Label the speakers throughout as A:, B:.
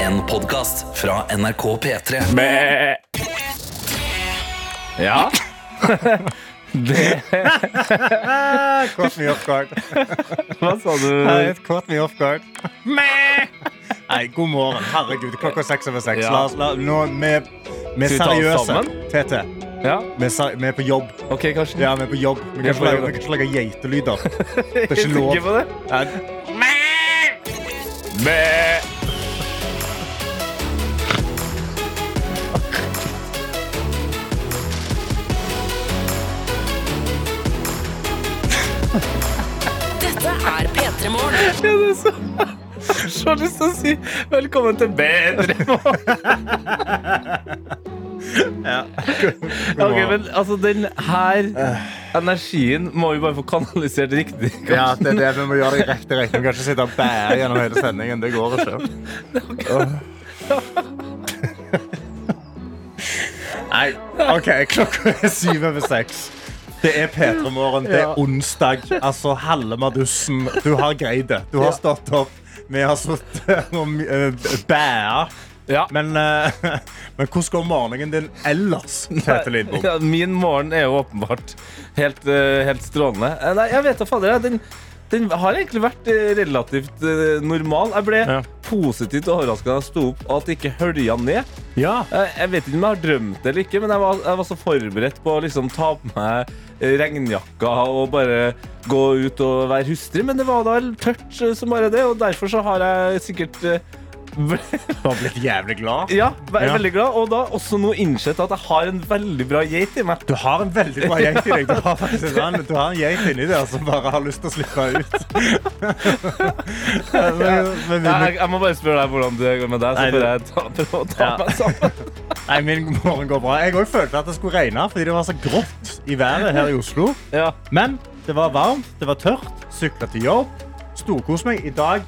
A: En podcast fra NRK P3
B: Ja.
C: Caught me off guard.
B: Hva sa du?
C: Nei, it caught me off guard. Mæ! Nei, god morgen. Herregud, klokka er seks over seks.
B: Ja.
C: La oss, la, nå, vi, vi er
B: Skal vi ta oss
C: seriøse.
B: sammen?
C: Tete,
B: Ja,
C: vi er, ser- vi er på jobb.
B: OK, Karsten.
C: Ja, vi er på jobb. Vi kan
B: Vi er på
C: ikke lage,
B: jobb.
C: vi kan ikke lage geitelyder. Det er
B: Jeg
C: ikke lov.
B: tenker på det.
C: Ja,
D: Dette er P3 Morgen.
B: Jeg hadde så, så lyst til å si velkommen til bedre morgen. Ok, men altså, den her energien må vi bare få kanalisert riktig.
C: Ja, det er det vi må gjøre i riktig retning. Vi kan ikke sitte og bære gjennom hele sendingen. Det går ikke. Nei, OK. Klokka er syv over seks. Det er P3 Morgen. Det er onsdag. Altså, halve madussen. Du har greid det. Du har stått opp. Vi har sittet her og eh, bæa.
B: Ja.
C: Men, eh, men hvordan går morgenen din ellers, Tete Lidbom?
B: Ja, min morgen er jo åpenbart helt, eh, helt strålende. Eh, Nei, jeg vet da fader. jeg, Den, den har egentlig vært eh, relativt eh, normal. Jeg ble
C: Ja.
B: positivt overraska da jeg sto opp, og at det ikke hølja ned.
C: Ja.
B: Jeg, jeg vet ikke om jeg har drømt det eller ikke, men jeg var, jeg var så forberedt på å liksom ta på meg eh, regnjakka og bare gå ut og være hustru, men det var da tørt eh, som bare det, og derfor så har jeg sikkert eh, ble-
C: Du har blitt jævlig glad.
B: ja, vært
C: Ja.
B: veldig glad, og da også nå innsett at jeg har en veldig bra geit i meg.
C: Du har en veldig bra geit i deg. Du har, faktisk, en annen- du har en geit inni der som bare har lyst til å slippe ut. Men
B: Ja,
C: min,
B: jeg, jeg må bare spørre deg hvordan det går med deg, så
C: Nei,
B: får
C: det-
B: jeg ta, prøve å ta
C: Ja.
B: meg sammen.
C: nei, min morgen går bra. Jeg òg følte at det skulle regne fordi det var så grått i været her i Oslo.
B: Ja.
C: Men det var varmt, det var tørt. Sykla til jobb. Storkos meg. I dag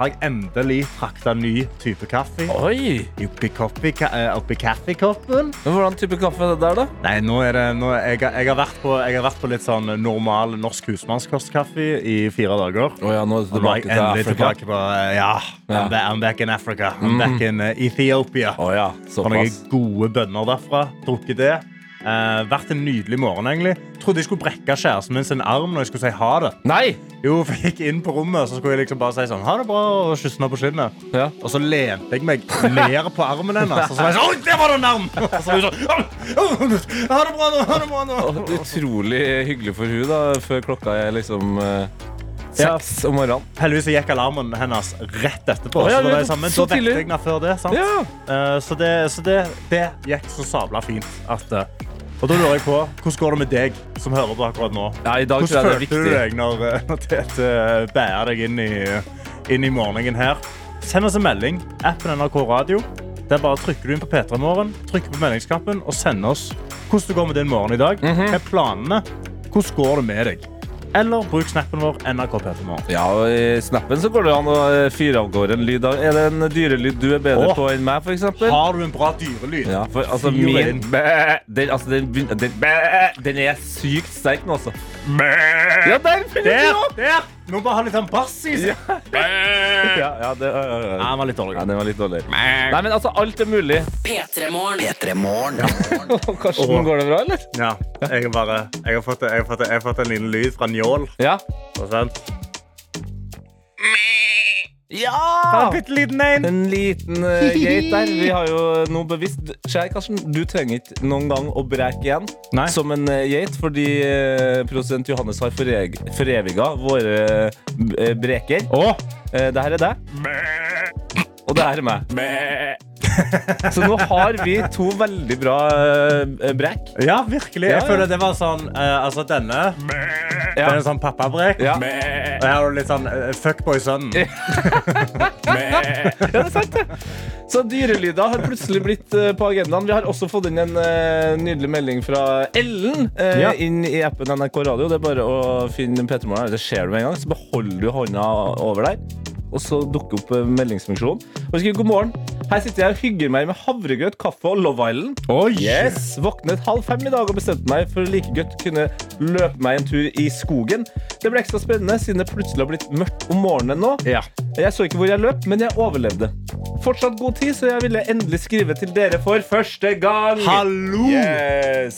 C: har jeg endelig frakta ny type kaffe.
B: Oi!
C: Oppi, koppi, ka, eh, oppi kaffekoppen.
B: Men hvordan type kaffe er det der, da?
C: Nei, nå er det, nå, jeg, har- jeg, har vært på, jeg har vært på litt sånn normal norsk husmannskostkaffe i fire dager.
B: Å ja, nå er du
C: Nå er jeg
B: tilbake til
C: endelig
B: Afrika.
C: tilbake på eh, Ja,
B: Ja. Mm.
C: I'm, ba I'm back in Africa. I'm back in eh, Ethiopia.
B: Å ja,
C: Har noen
B: såpass.
C: gode bønner derfra. Drukket det. Eh, vært en nydelig morgen, egentlig. Trodde jeg skulle brekke kjæresten min sin arm når jeg skulle si ha det.
B: Nei!
C: Jo, for jeg gikk inn på rommet, så skulle jeg liksom bare si sånn ha det bra og kysse henne på kinnet.
B: Ja.
C: Og så lente jeg meg ned på armen hennes. Og så var jeg sånn Oi, der var det en arm! Og så var jeg sånn «Au, au, Ha det bra nå, ha det bra nå.
B: Og Utrolig hyggelig for hun da, før klokka er liksom eh,
C: Ja.
B: seks om morgenen.
C: Heldigvis gikk alarmen hennes rett
B: Å,
C: etterpå.
B: ja, ja,
C: så da var jeg sammen.
B: så
C: Da vekket
B: tidlig.
C: jeg henne før det. sant?
B: Ja.
C: Eh, så det, så det, det gikk så sabla fint. At, eh, og da lurer jeg på, Hvordan går det med deg som hører på akkurat nå?
B: Ja, i dag
C: Hvordan
B: tror jeg det
C: følte du
B: er viktig.
C: deg når, eh, når Tete bærer deg inn i, inn i morgenen her? Send oss en melding. Appen NRK Radio. Der bare trykker du inn på P3 Morgen, trykker på meldingsknappen og sender oss hvordan det går med din morgen i dag.
B: Mhm.
C: Hva er planene? Hvordan går det med deg? Eller bruk snappen vår NRK P3 Morgen.
B: Ja, og I snappen så går det an å eh, fyre av gårde en lyd. av- Er det en dyrelyd du er bedre
C: Å.
B: på enn meg, for eksempel?
C: Har du en bra dyrelyd?
B: Ja, for altså
C: Fyr
B: min
C: inn.
B: bæ, den, altså, den, begyn- den, bæ, den er sykt sterk nå, altså. Ja, der finner
C: Der!
B: du opp!
C: der! Må bare ha litt sånn bass i seg.
B: Ja, ja, det, ja, ja, ja.
C: den var litt
B: ja,
C: dårlig.
B: den var litt dårlig. Nei, men altså, alt er mulig.
D: P3 Morgen.
A: P3 Morgen
B: Karsten,
C: Åh.
B: går det bra, eller?
C: Ja, jeg, har bare, jeg, har fått, jeg, har fått, jeg har fått en liten lyd fra Njål.
B: Ja.
C: Og sånn.
B: Ja!
C: En bitte liten en.
B: En liten eh, geit der. Vi har jo noe bevisst. Skjær, Karsten, du trenger ikke noen gang å breke igjen
C: Nei.
B: som en eh, geit, fordi eh, produsent Johannes har foreg- foreviga våre eh, breker.
C: Å,
B: Eh, Det her er deg. Og det her er meg. Så nå har vi to veldig bra eh, brek.
C: ja, virkelig.
B: Ja,
C: Jeg
B: ja.
C: føler det var sånn eh, Altså, denne Det er en sånn pappabrek.
B: Ja.
C: Og her har du litt sånn eh, fuckboy-sønnen.
B: Ja, det er sant, det. Så dyrelyder har plutselig blitt eh, på agendaen. Vi har også fått inn en eh, nydelig melding fra Ellen eh,
C: Ja.
B: inn i appen NRK Radio. Det er bare å finne P3morgen. Det ser du med en gang. Så beholder du hånda over der. Og så dukker opp eh, meldingsfunksjonen. Og skriver god morgen. Her sitter jeg og hygger meg med havregrøt, kaffe og Love Island.
C: Oi!
B: Yes, Våknet halv fem i dag og bestemte meg for å like godt kunne løpe meg en tur i skogen. Det ble ekstra spennende siden det plutselig har blitt mørkt om morgenen nå.
C: Ja.
B: Jeg så ikke hvor jeg løp, men jeg overlevde. fortsatt god tid, så jeg ville endelig skrive til dere for første gang.
C: Hallo!
B: Yes!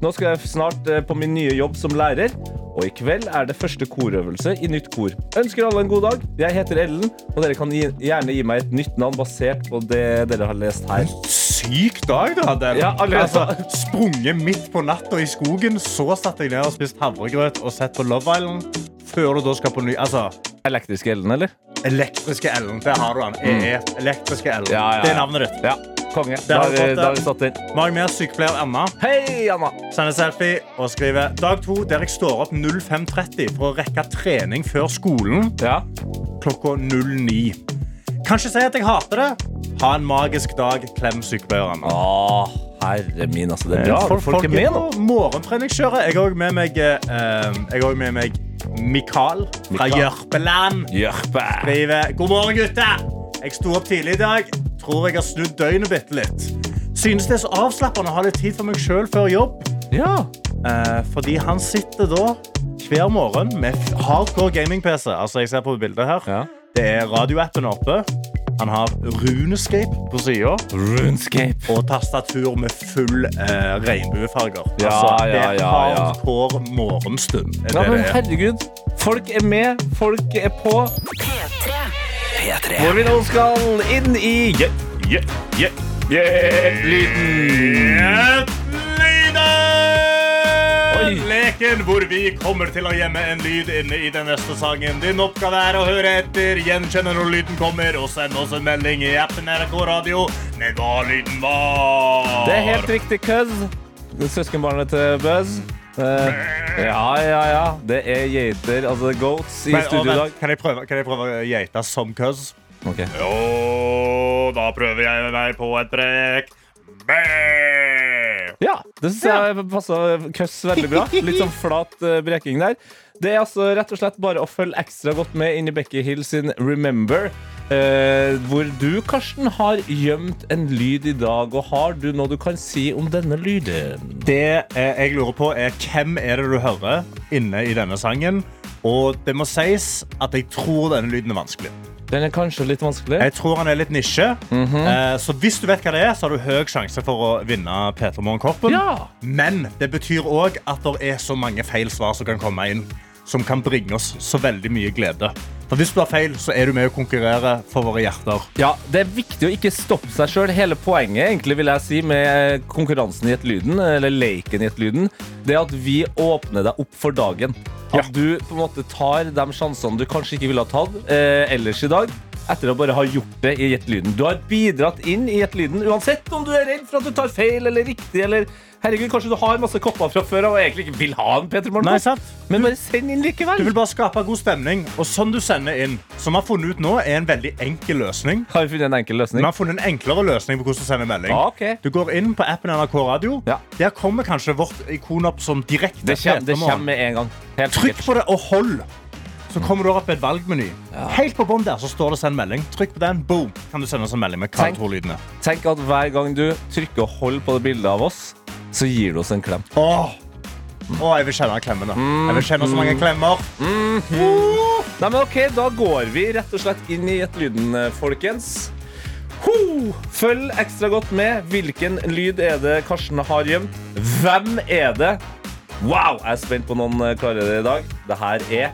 B: Nå skal jeg snart eh, på min nye jobb som lærer, og i kveld er det første korøvelse i nytt kor. Ønsker alle en god dag. Jeg heter Ellen, og dere kan gi, gjerne gi meg et nytt navn basert på det dere har lest her.
C: Syk dag du hadde.
B: Ja, allerede.
C: altså, sprunget midt på natta i skogen, så satt jeg ned og spist havregrøt og sett på Love Island. Før du da skal på ny Altså,
B: Elektriske Ellen, eller?
C: Elektriske Ellen. Der har du den. EE. Elektriske Ellen.
B: Mm. Ja, ja, ja.
C: Det er navnet ditt.
B: Ja. Konge.
C: Der
B: Da
C: har
B: har
C: vi
B: vi
C: fått det.
B: da har vi satt den.
C: Vi har med sykepleier Anna.
B: Hei, Anna!
C: Sender selfie og skriver Dag to der jeg står opp 05.30 for å rekke trening før skolen
B: Ja.
C: klokka 09. Kan ikke si at jeg hater det. Ha en magisk dag. Klem sykepleier Anna.
B: Å, herre min, altså. Det er bra. Folk, er med nå.
C: på morgenpreningskjøret. Jeg har også med meg, eh, jeg har også med meg Mikael fra
B: Mikael.
C: Jørpeland.
B: Jørpe.
C: Skriver God morgen, gutter. Jeg sto opp tidlig i dag. Tror jeg har snudd døgnet bitte litt. Synes det er så avslappende å ha litt tid for meg sjøl før jobb.
B: Ja.
C: Eh, fordi han sitter da hver morgen med f- hardcore gaming-PC. Altså, jeg ser på bildet her.
B: Ja.
C: Det er radioappen oppe. Han har runescape på sida
B: Runescape.
C: og tastatur med full eh, regnbuefarger.
B: Ja,
C: altså, det
B: ja,
C: er
B: ja, ja.
C: hardcore morgenstund. Er
B: Ja,
C: det
B: men
C: det er.
B: herregud. Folk er med. Folk er på.
D: P3.
A: P3.
B: Hvor vi nå skal inn i yeah, yeah, yeah, yeah, lyden. Oi.
C: Lyden! Leken hvor vi kommer til å gjemme en lyd inne i den neste sangen. Din oppgave er å høre etter, gjenkjenne når lyden kommer, og send oss en melding i appen NRK Radio med hva lyden var.
B: Det er helt riktig, Cuz. Søskenbarnet til Buzz. Eh, ja, ja, ja. Det er geiter, altså goats, i
C: Men, og
B: studio i dag.
C: vent, Kan jeg prøve, kan jeg prøve å geite som køss?
B: Ok.
C: Jo, da prøver jeg meg på et brekk. Bæ!
B: Ja, det syns jeg passer Køss veldig bra. Litt sånn flat eh, breking der. Det er altså rett og slett bare å følge ekstra godt med inn i Becky Hill sin Remember. eh, hvor du, Karsten, har gjemt en lyd i dag. Og har du noe du kan si om denne lyden?
C: Det eh, jeg lurer på, er hvem er det du hører inne i denne sangen? Og det må sies at jeg tror denne lyden er vanskelig.
B: Den er kanskje litt vanskelig.
C: Jeg tror han er litt nisje. eh, så hvis du vet hva det er, så har du høy sjanse for å vinne Peter Morgenkoppen.
B: Ja.
C: Men det betyr òg at det er så mange feil svar som kan komme inn. Som kan bringe oss så veldig mye glede. For hvis du har feil, så er du med å konkurrere for våre hjerter.
B: Ja, Det er viktig å ikke stoppe seg sjøl. Hele poenget egentlig vil jeg si med konkurransen i et lyden, eller leken i et lyden, det er at vi åpner deg opp for dagen. At du på en måte tar de sjansene du kanskje ikke ville ha tatt eh, ellers i dag. Etter å bare ha gjort det i et lyden. Du har bidratt inn i et lyden, uansett om du er redd for at du tar feil eller riktig, eller herregud, kanskje du har masse kopper fra før av og egentlig ikke vil ha en Peter
C: Nei,
B: Morgenkopp,
C: sant?
B: men bare send inn
C: Du
B: likevel.
C: vil bare skape god stemning. Og sånn du sender inn, som vi har funnet ut nå, er en veldig enkel løsning.
B: Har vi funnet en enkel
C: Vi
B: løsning?
C: har funnet en enklere løsning på hvordan du sender melding.
B: Ah, ok.
C: Du går inn på appen NRK Radio.
B: Ja.
C: Der kommer kanskje vårt ikon opp som direkte.
B: Det kommer, det
C: Petermorgen.
B: kommer med en gang. Helt
C: Trykk
B: sikkert.
C: på det og hold. Så kommer du opp i et valgmeny. Helt på bånn der så står det 'send melding'. Trykk på den, boom, kan du sende oss en melding med hva
B: Tenk.
C: du tror lyden er.
B: Tenk at hver gang du trykker og holder på det bildet av oss, så gir du oss en klem.
C: Åh. Åh, jeg vil kjenne klemmene.
B: Mm.
C: Jeg vil kjenne så mange klemmer.
B: Nei, men ok, Da går vi rett og slett inn i et lyden, folkens. Ho! Følg ekstra godt med. Hvilken lyd er det Karsten har gjemt? Hvem er det? Wow! Jeg er spent på om noen eh, klarer det i dag. Det her er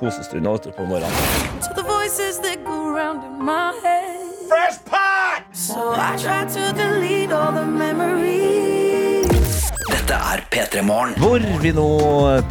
B: kosestunda vet du, på morgenen.
E: to the voices that go round in my head.
C: Fresh pack!
E: So I try to delete all the memories.
A: Dette er P3 Morgen.
B: Hvor vi nå,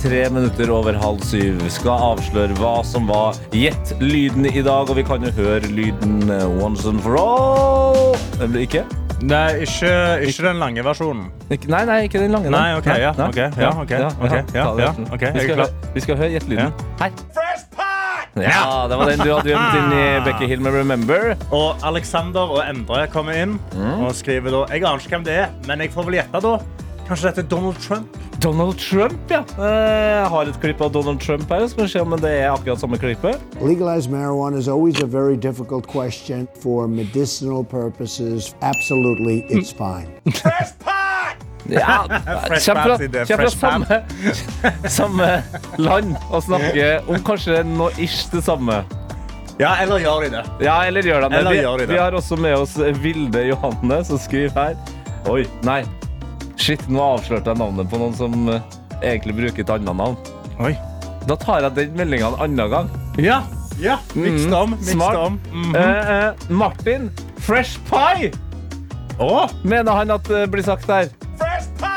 B: tre minutter over halv syv, skal avsløre hva som var gjett lyden i dag. Og vi kan jo høre lyden eh, once and for all. Eller ikke?
C: Nei, ikke, ikke den lange versjonen.
B: Ikke, nei, nei, ikke den lange. den.
C: Nei, ok, ja,
B: Nei,
C: ok, ja, ok, ok, ja,
B: ta det
C: ja,
B: resten.
C: ok, jeg
B: Vi
C: er
B: skal,
C: klar.
B: hø- vi skal høre gjett lyden. Her.
C: Fresh pack!
B: Ja, det var den du hadde gjemt inn i Becky Hill med Remember.
C: Og Alexander og Endre kommer inn
B: Mm.
C: og skriver da Jeg aner ikke hvem det er, men jeg får vel gjette da. Kanskje dette er Donald Trump?
B: Donald Trump, ja. Eh, Jeg har et klipp av Donald Trump her. Skal vi se om det er akkurat samme klippet.
F: Legalized marijuana is always a very difficult question for medicinal purposes. Absolutely, it's fine.
C: Fresh pack!
B: Ja,
C: Fresh
B: Kjem fra,
C: Pants i det,
B: kjem fra
C: Fresh
B: samme, samme land og snakker om kanskje noe ish det samme.
C: Ja, eller gjør de det?
B: Ja, eller gjør de det.
C: Eller
B: Vi,
C: gjør de det.
B: vi har også med oss eh, Vilde Johanne, som skriver her. Oi, nei. Shit, nå avslørte jeg navnet på noen som eh, egentlig bruker et annet navn.
C: Oi.
B: Da tar jeg den meldinga en annen gang.
C: Ja. ja. Mixed om. Mixed
B: Mm. Smart.
C: om. Mhm.
B: Eh, eh, Martin Fresh Pie
C: Åh!
B: mener han at det blir sagt der.
C: Da-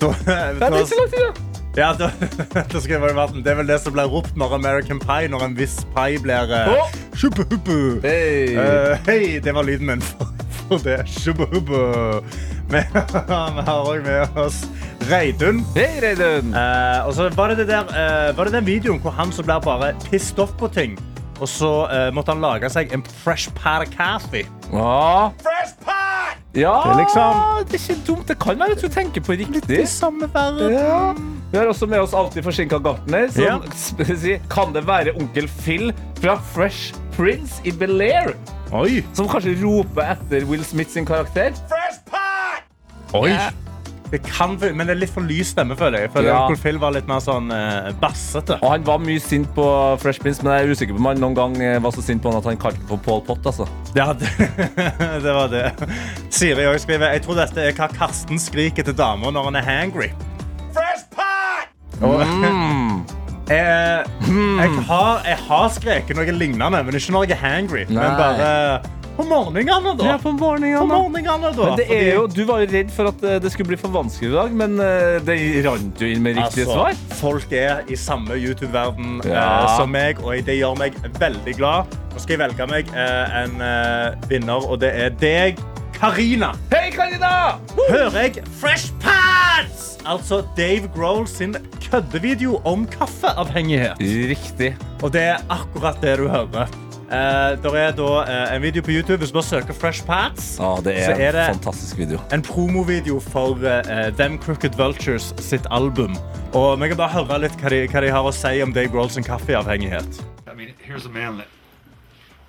B: Ja, det er ikke så langt unna.
C: Ja, da, da skriver jeg Martin. Det er vel det som blir ropt når American Pie, når en viss pie blir eh,
B: Åh!
C: Shubba-hubba.
B: Hey.
C: Eh, Hei, det var lyden min for, for det. Shubba-hubba. Vi vi har òg med oss Reidun.
B: Hei, Reidun.
C: Eh, og så var det, det der, eh, var det den videoen hvor han som blir bare pissed off på ting. Og så eh, måtte han lage seg en fresh pot of coffee.
B: Ja. ja.
C: Det er liksom-
B: det er ikke dumt. Det kan være at du tenker på riktig.
C: Det er samme verden.
B: Ja. Vi har også med oss alltid forsinka gartner, som
C: Ja.
B: sp- sier Kan det være onkel Phil fra Fresh Prince i Bel-Air?
C: Oi.
B: Som kanskje roper etter Will Smith sin karakter?
C: Oi. Det kan, være- men det er litt for lys stemme, føler jeg. Jeg Føler
B: Ja.
C: Onkel Phil var litt mer sånn eh, bassete.
B: Og han var mye sint på Fresh Prince, men jeg er usikker på om han noen gang eh, var så sint på han at han kalte ham for Paul Pott. altså.
C: Ja, det, det var det. Siri òg skriver Jeg tror dette er hva Karsten skriker til damer når han er hangry. Og-
B: Mm.
C: Jeg, Eh, jeg, har, jeg har skreket noe lignende, men ikke når jeg er hangry.
B: Nei.
C: Men bare på morgenene, da.
B: Ja, på morgenen,
C: På
B: da.
C: morgenene, da.
B: Men det
C: Fordi-
B: er jo, Du var jo redd for at eh, det skulle bli for vanskelig i dag, men eh, det rant jo inn med riktige
C: Altså,
B: svar.
C: Folk er i samme YouTube-verden
B: Ja.
C: eh, som meg, og det gjør meg veldig glad. Nå skal jeg velge meg eh, en eh, vinner, og det er deg, Karina.
B: Hei, Karina!
C: Hører jeg Fresh Pants! Altså Dave Grohl sin køddevideo om kaffeavhengighet.
B: Riktig.
C: Og det er akkurat det du hører. Eh, der er da eh, en video på YouTube hvis du bare søker Fresh Pants.
B: Ja, det
C: Så
B: er,
C: er det-
B: en fantastisk video.
C: en promovideo for eh, Them Crooked Vultures sitt album. Og vi kan bare høre litt hva de, hva de har å si om Dave Grohl sin kaffeavhengighet.
G: I mean, here's a man that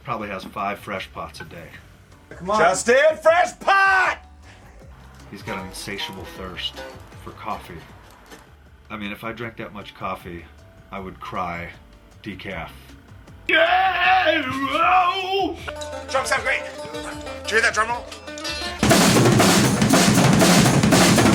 G: probably has five fresh pots a day.
C: Justin Fresh Pot!
G: He's got an insatiable thirst for coffee. I mean, if I drank that much coffee, I would cry decaf.
H: Drum sound great. Do you hear that drum roll?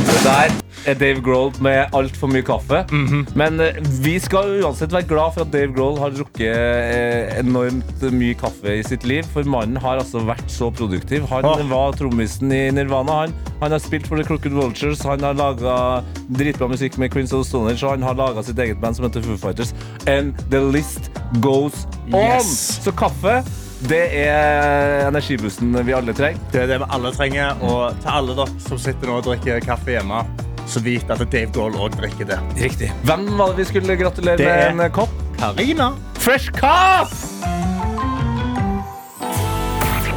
B: Det der er Dave Grohl med altfor mye kaffe.
C: Mhm.
B: Men eh, vi skal uansett være glad for at Dave Grohl har drukket eh, enormt mye kaffe i sitt liv. For mannen har altså vært så produktiv. Han
C: Åh.
B: var trommisen i Nirvana. Han, han har spilt for The Crooked Vultures, han har laga dritbra musikk med Queens of the Stone Age, og han har laga sitt eget band som heter Foo Fighters. And the list goes on!
C: Yes.
B: Så kaffe, det er energibussen vi alle trenger.
C: Det er det vi alle trenger. Og til alle dere som sitter nå og drikker kaffe hjemme, så vit at Dave Grohl òg drikker det.
B: Riktig. Hvem var det vi skulle gratulere
C: Det
B: med
C: er-
B: en eh, kopp?
C: Karina.
B: Fresh Cuff!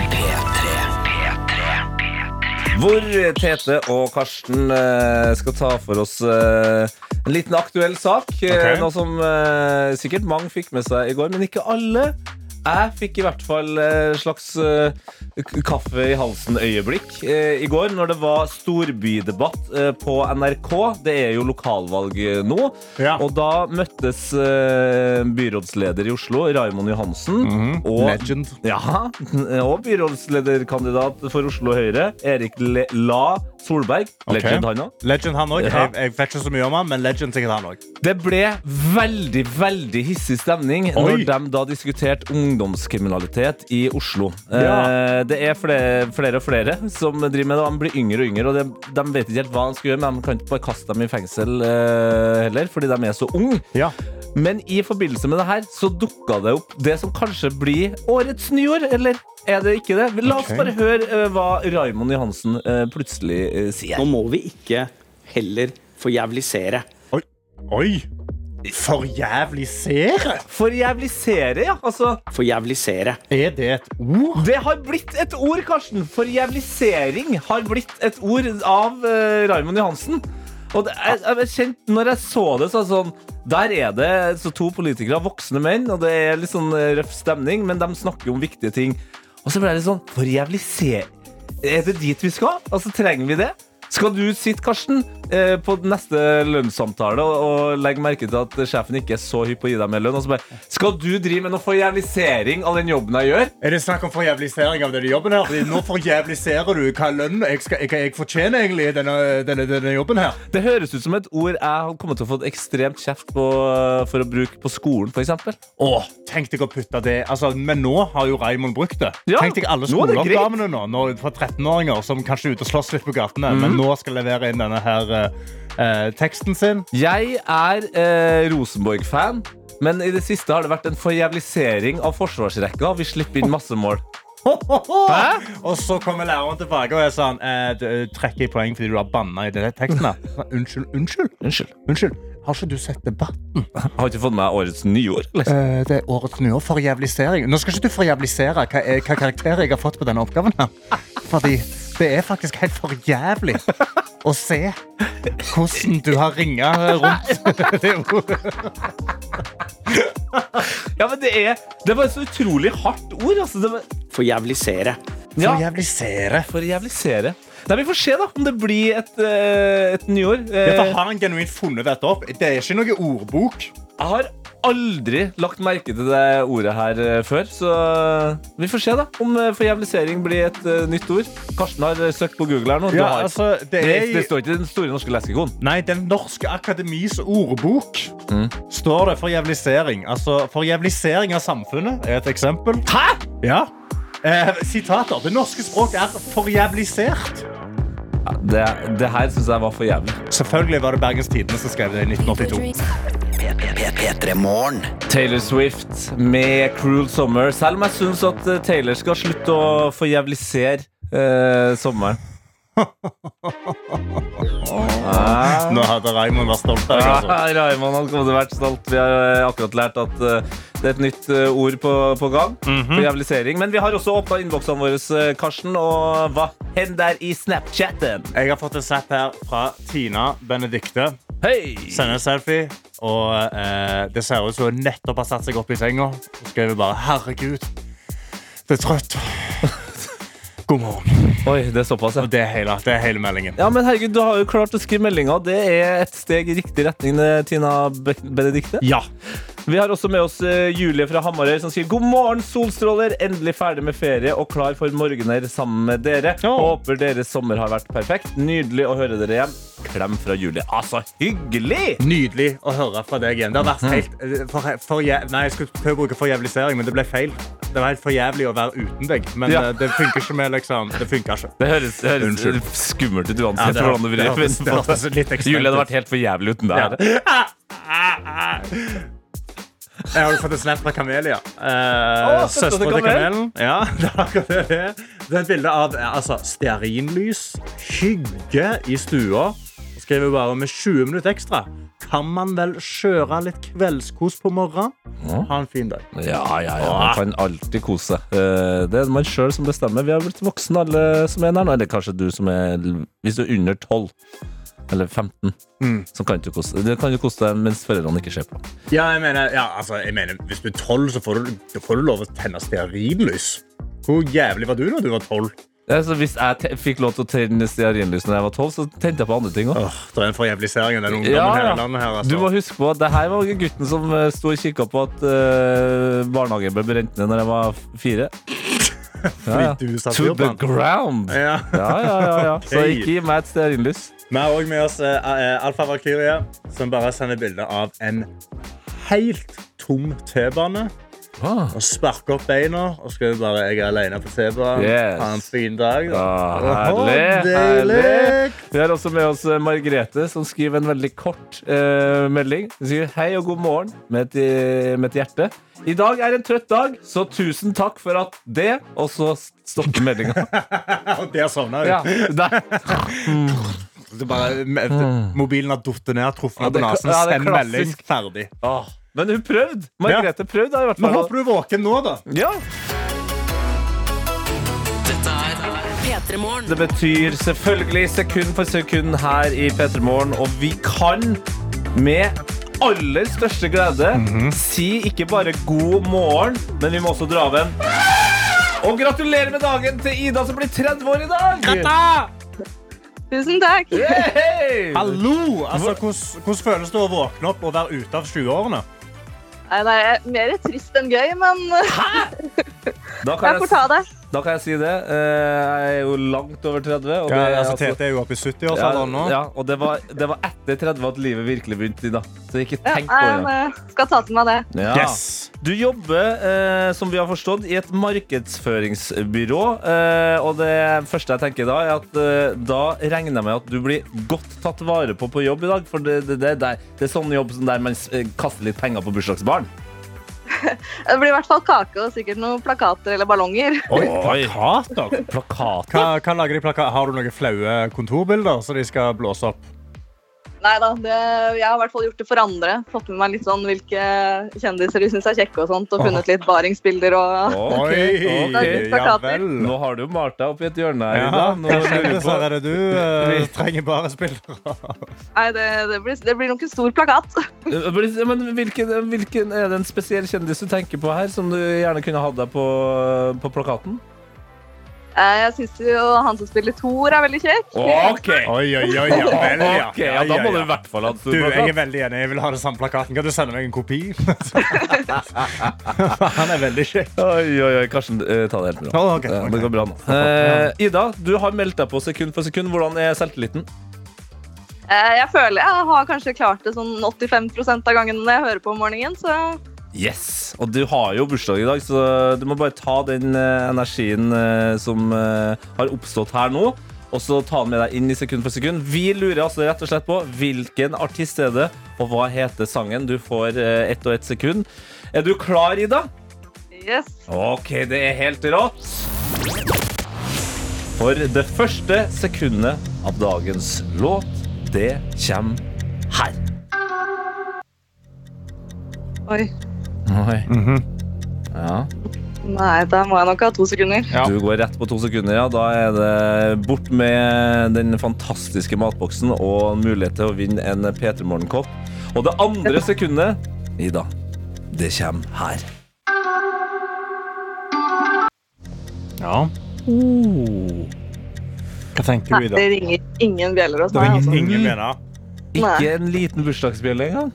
A: P3. P3.
B: Hvor Tete og Karsten eh, skal ta for oss eh, en liten aktuell sak. eh,
C: Ok.
B: Noe som eh, sikkert mange fikk med seg i går, men ikke alle. Jeg fikk i hvert fall eh, slags eh, k- kaffe i halsen-øyeblikk eh, i går når det var storbydebatt eh, på NRK. Det er jo lokalvalg eh, nå.
C: Ja.
B: Og da møttes eh, byrådsleder i Oslo, Raimond Johansen, og
C: Legend.
B: ja, og byrådslederkandidat for Oslo Høyre, Erik Le La Solberg. Legend han også.
C: Legend han òg.
B: Ja.
C: Jeg, jeg vet ikke så mye om han, men legend sikkert han òg.
B: Det ble veldig, veldig hissig stemning når de da diskuterte ungdomskriminalitet i Oslo.
C: Ja.
B: Eh, det er flere, flere og flere som driver med det. og De blir yngre og yngre, og de, de vet ikke helt hva de skal gjøre, men de kan ikke bare kaste dem i fengsel eh, heller, fordi de er så unge.
C: Ja.
B: Men i forbindelse med det her så dukka det opp det som kanskje blir årets nyår, eller er det ikke det? La oss
C: Ok.
B: bare høre eh, hva Raimond Johansen eh, plutselig eh, sier.
I: Nå må vi ikke heller forjævlisere.
C: Oi. Oi. For jævlig seere!
B: For jævlig serie, ja. Altså,
I: Forjævlisere.
C: Er det et ord?
B: det har blitt et ord, Karsten. For jævlisering har blitt et ord av eh, Raimond Johansen. Og det, jeg, jeg, jeg kjente, når jeg så det, så var det sånn Der er det så to politikere, voksne menn, og det er litt sånn eh, røff stemning, men de snakker om viktige ting. Og så ble jeg litt sånn For jævlisering Er det dit vi skal? Altså, trenger vi det? Skal du sitte, Karsten, eh, på neste lønnssamtale og, og legger merke til at sjefen ikke er så hypp på å gi deg mer lønn. Og så bare Skal du drive med noe forjævlisering av den jobben jeg gjør?
C: Er det snakk om forjævlisering av denne jobben her? Fordi Nå forjævliserer du hva lønn jeg, skal, hva jeg fortjener egentlig i denne, denne, denne jobben her.
B: Det høres ut som et ord jeg har kommet til å få et ekstremt kjeft på eh, for å bruke på skolen, f.eks.
C: Åh, tenk deg å putte det altså, Men nå har jo Raymond brukt det.
B: Ja,
C: tenk deg alle
B: nå er det greit.
C: skoleoppgavene nå, nå fra 13-åringer som kanskje er ute og slåss litt på gatene,
B: Mhm.
C: men nå skal levere inn denne her eh, eh, teksten sin.
B: Jeg er eh, Rosenborg-fan, men i det siste har det vært en forjævlisering av forsvarsrekka. Vi slipper inn masse mål. Hæ?
C: Og så kommer læreren tilbake og er sånn eh, du, eh, Trekker i poeng fordi du har banna i denne teksten. her. Sånn, Unnskyld, unnskyld.
B: Unnskyld.
C: Unnskyld. Har ikke du sett debatt?
B: Jeg har ikke fått med meg årets nyord. Liksom.
C: Eh, det er årets nyår for jævlisering. Nå skal ikke du forjævlisere hva, eh, hva karakterer jeg har fått på denne oppgaven. her. Fordi det er faktisk helt for jævlig å se hvordan du har ringa rundt. Det er jo-
B: Ja, men det er, det er bare så utrolig hardt ord. Altså. Det var,
I: Forjævlisere.
B: ja,
C: Forjævlisere.
B: forjævlisere. Nei, vi får se da, om det blir et, eh, et nyord. Eh,
C: Dette har han genuint funnet dette opp. Det er ikke noe ordbok.
B: jeg har aldri lagt merke til det ordet her eh, før, så vi får se da om eh, forjævlisering blir et eh, nytt ord. Karsten har eh, søkt på Google her nå. Du har-
C: det
B: det, det står ikke i Den store norske leksikon.
C: Nei, Den norske akademis ordbok står det for jævlisering. Altså, for jævlisering av samfunnet er et eksempel. Hæ? Ja. Eh, sitater. Det norske språk er forjævlisert.
B: Det, det her syns jeg var for jævlig.
C: Selvfølgelig var det Bergens Tidende som skrev det i 1982.
A: P3 Morgen.
B: Taylor Swift med 'Cruel Summer'. Selv om jeg syns at eh, Taylor skal slutte å forjævlisere eh, sommeren. Ah.
C: Nå hadde Raymond vært stolt av deg. Altså.
B: Ah, Raymond han kommer til å være stolt. Vi har eh, akkurat lært at eh, det er et nytt eh, ord på, på gang. Forjævlisering. Men vi har også åpna innboksene våre, eh, Karsten. Og hva hender i Snapchatten?
C: Jeg har fått en zapp her fra Tina Benedicte.
B: Hei!
C: Sender en selfie, og eh, det ser ut som hun nettopp har satt seg opp i senga. Og skriver bare 'Herregud, det er trøtt'. God morgen.
B: Oi, det er såpass, ja.
C: Og det er hele, det er hele meldingen.
B: Ja, men herregud, Du har jo klart å skrive meldinga. Det er et steg i riktig retning. det, Tina Be- Benedikte
C: Ja.
B: Vi har også med oss eh, Julie fra Hamarøy som sier God morgen, solstråler. Endelig ferdig med ferie og klar for morgener sammen med dere. Håper deres sommer har vært perfekt. Nydelig å høre dere igjen. Klem fra Julie. Altså, hyggelig!
C: Nydelig å høre fra deg igjen. Det har vært helt eh, for, for, jæv- Nei, jeg skulle prøve å bruke forjævlisering, men det ble feil. Det var helt for jævlig å være uten deg, men
B: Ja.
C: eh, det funker ikke med liksom Det funker ikke.
B: Det høres, det høres
C: Unnskyld.
B: skummelt ut uansett.
C: det-
B: hvordan du vrir
C: det hørtes- det
B: på det.
C: hørtes litt ekstremt
B: Julie hadde
C: ut.
B: vært helt for jævlig uten det
C: Ja.
B: her. Ah,
C: Jeg har jo fått en snap fra Kamelia. Eh,
B: Å, søster til
C: Søstera til
B: Kamelen.
C: Kamelen. Ja, det er akkurat det det er. Det er et bilde av eh, altså, stearinlys, skygge i stua. Og skriver bare med 20 minutter ekstra. Kan man vel kjøre litt kveldskos på morgenen? Ha en fin dag.
B: Ja, ja, ja. Man kan alltid kose seg. Eh, Det er man sjøl som bestemmer. Vi har blitt voksne, alle som er der nå. Eller kanskje du som er Hvis du er under 12 eller 15, så kan du kose deg. Du kan jo kose deg mens foreldrene ikke ser på.
C: Ja, jeg mener, ja, altså, jeg mener Hvis du er tolv, så får du, da får du lov å tenne stearinlys. Hvor jævlig var du da du var tolv?
B: Ja, så hvis jeg te- fikk lov til å tenne stearinlys da jeg var 12, så tente jeg på andre ting òg.
C: Åh, Det er en forjævlisering av den ungdommen
B: Ja,
C: her
B: ja.
C: i landet. her
B: Du
C: altså.
B: må huske på at det her var gutten som eh, sto og kikka på at eh, barnehagen ble brent ned når jeg var f- fire. Ja, ja.
C: Fordi du satt
B: To
C: fyr
B: the
C: på den.
B: ground! Ja,
C: ja.
B: ja, ja. ja. Så
C: Ok.
B: ikke gi meg et stearinlys.
C: Vi har òg med oss eh, eh, Alfa Valkyrie, som bare sender bilde av en helt tom T-bane.
B: Ah.
C: Og sparker opp beina og skriver bare 'Jeg er alene på T-banen'.
B: Yes.
C: Ha en fin dag. da.
B: Ah,
C: Åh,
B: herlig,
C: deilig.
B: herlig. Vi har også med oss eh, Margrethe, som skriver en veldig kort eh, melding. Hun skriver hei og god morgen med et, eh, med et hjerte. I dag er en trøtt dag, så tusen takk for at det Og så stopper meldinga.
C: Og der sovna hun.
B: Ja, der.
C: Det er Bare, me- Mobilen har datt ned, truffet
B: Hmm. Ja,
C: ja, på
B: det er
C: nesen.
B: kla- ja, det er
C: Send melding.
B: klassisk.
C: Ferdig.
B: Ah, Men hun prøvde. Margrethe prøvde, da, i hvert
C: Men
B: fall.
C: håper du er våken nå, da.
B: Ja.
D: Dette er P3 Morgen.
B: Det betyr selvfølgelig sekund for sekund her i P3 Morgen, og vi kan med aller største glede
C: Mhm.
B: si ikke bare god morgen, men vi må også dra av en Og gratulerer med dagen til Ida som blir 30 år i dag!
J: Tusen takk.
B: Hei!
C: Hallo! Altså, hvordan, hvordan føles det å våkne opp og være ute av 20-årene?
J: Nei, det er mer trist enn gøy, men
B: Da
J: jeg
B: kan
J: får ta
B: jeg,
J: det.
B: da kan jeg si det. Eh, Jeg er jo langt over 30. Og det,
C: Ja,
B: er
C: altså,
B: altså-
C: Tete er jo oppe i 70-årsalderen nå.
B: ja, ja, og det var, det var etter 30 at livet virkelig begynte. Da. Så ikke
J: Ja,
B: tenk på
J: jeg
B: det.
J: eh, skal ta til meg det.
B: Ja.
C: Yes.
B: Du jobber, eh, som vi har forstått, i et markedsføringsbyrå. Eh, og det første jeg tenker da, er at eh, da regner jeg med at du blir godt tatt vare på på jobb i dag. For det, det, det, det, er- det er sånn jobb som der man s- eh, kaster litt penger på bursdagsbarn.
J: Det blir i hvert fall kake og sikkert noen plakater eller ballonger.
C: Oi, plakater!
B: Plakat.
C: Hva, hva lager de plaka- Har du noen flaue kontorbilder som de skal blåse opp?
J: Nei da, det, jeg har i hvert fall gjort det for andre. Fått med meg litt sånn hvilke kjendiser de syns er kjekke og sånt, og funnet litt baringsbilder og
B: Ok, ok.
J: Lager
C: ja
J: plakater.
C: vel.
B: Nå har du jo malt deg opp i et hjørne her.
C: Ja,
B: Ida. Nå
C: jeg
B: lurer
C: kjenner
B: jeg på-
C: dessverre det du eh, trenger bare spillere.
J: Nei, det, det, blir, det blir nok en stor plakat.
B: Eh, Men hvilken, hvilken Er det en spesiell kjendis du tenker på her, som du gjerne kunne hatt deg på, på plakaten?
J: Eh, Jeg syns jo han som spiller Thor, er veldig kjekk.
C: Oi, oi, oi, ja vel, ja.
B: Ok, ja, da må du i hvert fall ha en
C: Du,
B: stor
C: jeg er
B: plakat.
C: veldig enig. Jeg vil ha den samme plakaten. Kan du sende meg en kopi? Han er veldig kjekk.
B: Oi, oi, oi, Karsten, eh, ta det helt med ro.
C: Oh, ok,
B: Ja,
C: ok.
B: Det går bra nå. Eh, Ida, du har meldt deg på sekund for sekund. Hvordan er selvtilliten?
J: Eh, Jeg føler jeg har kanskje klart det sånn 85 av gangen når jeg hører på om morgenen, så
B: Yes! Og du har jo bursdag i dag, så du må bare ta den eh, energien eh, som eh, har oppstått her nå, og så ta den med deg inn i sekund for sekund. Vi lurer altså rett og slett på hvilken artist er det, og hva heter sangen? Du får eh, ett og ett sekund. Er du klar, Ida?
J: yes.
B: OK, det er helt rått. For det første sekundet av dagens låt, det kommer her.
J: Oi.
B: Oi. Ja.
J: Nei, da må jeg nok ha to sekunder.
C: Ja.
B: Du går rett på to sekunder, ja. Da er det bort med den fantastiske matboksen og mulighet til å vinne en P3 Morgenkopp. Og det andre sekundet, Ida, det kommer her.
C: Ja. Hva tenker
J: Nei,
C: du i
J: det
C: dag?
J: ringer ingen bjeller hos
C: Det
J: meg.
C: var
J: Altså.
C: ingen, ingen venner.
B: Ikke en liten bursdagsbjelle engang.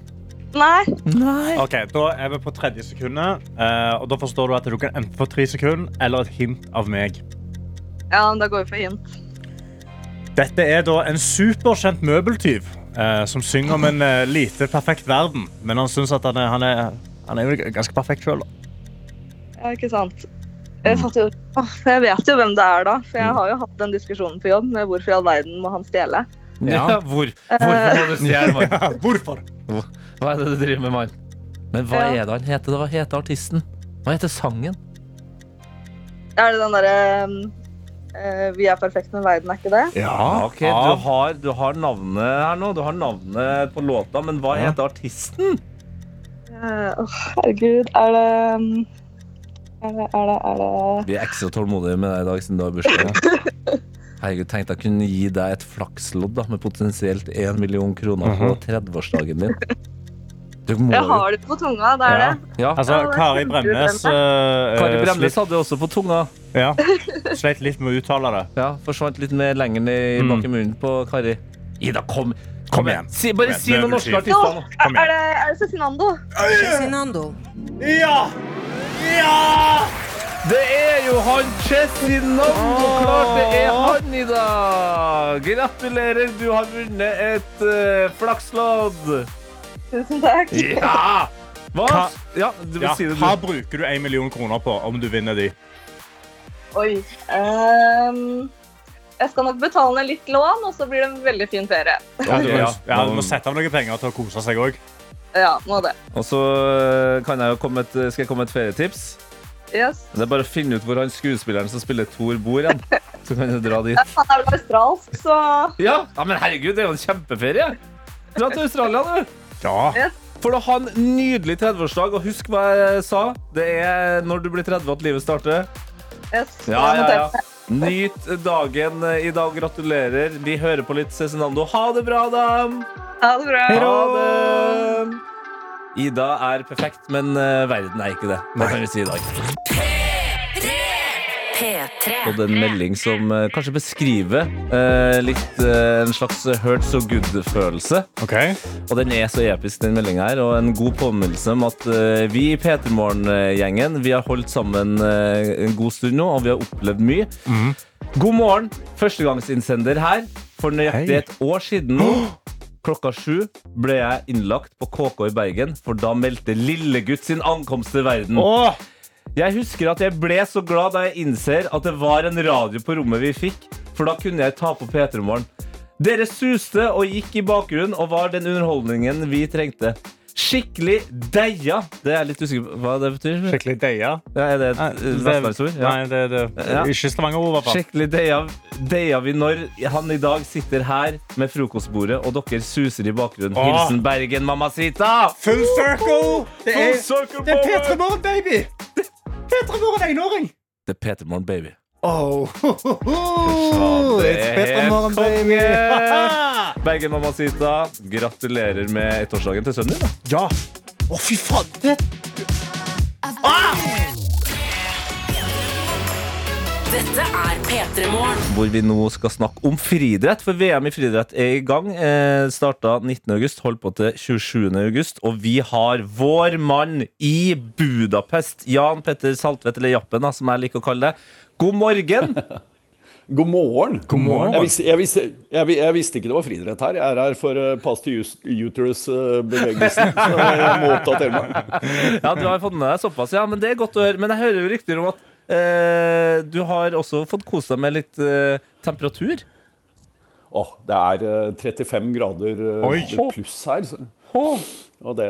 J: Nei.
B: Nei.
C: Ok, Da er vi på tredje sekundet. eh, og Da forstår du at du kan enten få tre sekunder eller et hint av meg.
J: Ja, men da går vi for hint.
C: Dette er da en superkjent møbeltyv eh, som synger om en eh, lite perfekt verden. Men han syns at han er, han er, han er jo ganske perfekt sjøl.
J: Ja, ikke sant. Jeg,
B: Mm.
J: satt jo, åh, jeg vet jo hvem det er, da. For jeg har jo hatt den diskusjonen på jobb med hvorfor i all verden må han stjele.
B: Ja,
C: Ja.
B: hvor, hvorfor må du stjele, mann?
C: Hvorfor?
B: Hva er det du driver med, mann? Men hva
J: Ja.
B: er det han heter? da? Hva heter artisten? Hva heter sangen?
J: Er det den derre eh, Vi er perfekte, men verden er ikke det?
C: Ja,
B: Ok, du har, du har navnet her nå. Du har navnet på låta, men hva
C: Ja.
B: heter artisten?
J: Eh, åh, herregud, er det um, er det, er det, er det
B: Vi er ekstra tålmodige med deg i dag siden du har bursdag. Herregud, tenkte jeg kunne gi deg et flakslodd da, med potensielt 1 million kroner på 30-årsdagen din. Du må
J: Jeg
B: jo
J: har det på tunga, det er
C: Ja.
J: det.
B: ja.
C: Altså,
J: Ja, det er
C: Kari Bremnes eh,
B: Kari
C: eh,
B: Bremnes
C: slitt,
B: hadde jo også på tunga.
C: ja, slet litt med å uttale det.
B: Ja, Forsvant litt mer lenger ned i
C: Mm.
B: bak i munnen på Kari. Ida, kom,
C: Kom igjen.
B: Si, bare
C: Kom igjen,
B: si noen
C: det er
B: norske
C: vel
J: Jo,
B: artister nå.
C: Kom igjen.
J: er det, er det Cezinando?
C: Ja!
B: Det er jo han Cezinando! Klart det er han, Ida! Gratulerer, du har vunnet et eh, flakslodd.
J: Tusen takk.
B: Ja! Hva?
C: Hva-
B: Ja, du vil
C: Ja,
B: si det,
C: hva
B: du.
C: bruker du 1 million kroner på om du vinner de?
J: Oi. ehm, jeg skal nok betale ned litt lån, og så blir det en veldig fin ferie.
C: Ja, du, må,
B: Ja.
C: ja, du må sette av noen penger til å kose seg òg.
J: Ja, må det.
B: Og så eh, kan jeg jo komme et, skal jeg komme med et ferietips.
J: Yes.
B: Det er bare å finne ut hvor han skuespilleren som spiller Thor, bor hen. Så kan du dra dit.
J: Han er vel australsk, så
B: Ja, ja men herregud, det er jo en kjempeferie! Dra til Australia, du!
C: Ja.
B: For å ha en nydelig 30-årsdag, og husk hva jeg sa. Det er når du blir 30 at livet starter.
J: yes.
B: Ja,
J: jeg
B: ja,
J: noterer.
B: ja. Nyt dagen eh, i dag. Gratulerer. Vi hører på litt Cezinando. Ha det bra, da!
J: Ha det bra.
B: Ha det! Ida er perfekt, men eh, verden er ikke det. Det kan vi si i dag.
D: P3.
B: fått en melding som eh, kanskje beskriver eh, litt eh, en slags hurt so good-følelse. Og den er så episk, den meldinga her, og en god påminnelse om at eh, vi i P3morgen-gjengen Vi har holdt sammen eh, en god stund nå, og vi har opplevd mye. God morgen, førstegangsinnsender her. For nøyaktig et år siden nå, klokka sju, ble jeg innlagt på KK i Bergen, for da meldte lillegutt sin ankomst til verden. Jeg husker at jeg ble så glad da jeg innser at det var en radio på rommet vi fikk, for da kunne jeg ta på P3 Morgen. Dere suste og gikk i bakgrunnen og var den underholdningen vi trengte. Skikkelig deia. Det er jeg litt usikker på hva det betyr.
C: Skikkelig deia?
B: Ja, er det et eh,
C: det-
B: vestlandsord? Ja.
C: nei, det- det- ikke Stavanger-ord, i hvert fall.
B: Skikkelig deia, deia vi når han i dag sitter her med frokostbordet, og dere suser i bakgrunnen.
C: Åh.
B: Hilsen Bergen, mamacita!
C: Full circle! Det
B: Full
C: er,
B: circle
C: det er
B: moment!
C: P3 Morgen, baby! P3 Morgen enåring!
B: Det er Peter Morn, baby.
C: Oh,
B: det
C: it's
B: er
C: P3 Morgen,
B: helt
C: baby!
B: konge! Bergen Mamacita, gratulerer med ettårsdagen til sønnen din. da.
C: ja. Å, fy faen! Det
D: Dette er P3 Morgen.
B: Hvor vi nå skal snakke om friidrett. For VM i friidrett er i gang. Eh, Starta 19.8, holdt på til 27.8. Og vi har vår mann i Budapest, Jan Petter Saltvedt, eller Jappen, da, som jeg liker å kalle det. God morgen!
K: God morgen.
C: morgen.
K: Jeg, visste, jeg, visste, jeg, vi- jeg visste ikke det var friidrett her. Jeg er her for uh, past to us- uterus-bevegelsen. så jeg må oppdatere meg.
B: Ja, du har fått med deg såpass, ja. Men det er godt å høre. Men jeg hører jo rykter om at eh, du har også fått kose deg med litt eh, temperatur.
K: Åh, det er uh, 35 grader uh,
C: Oi.
K: pluss her. Så. Og det,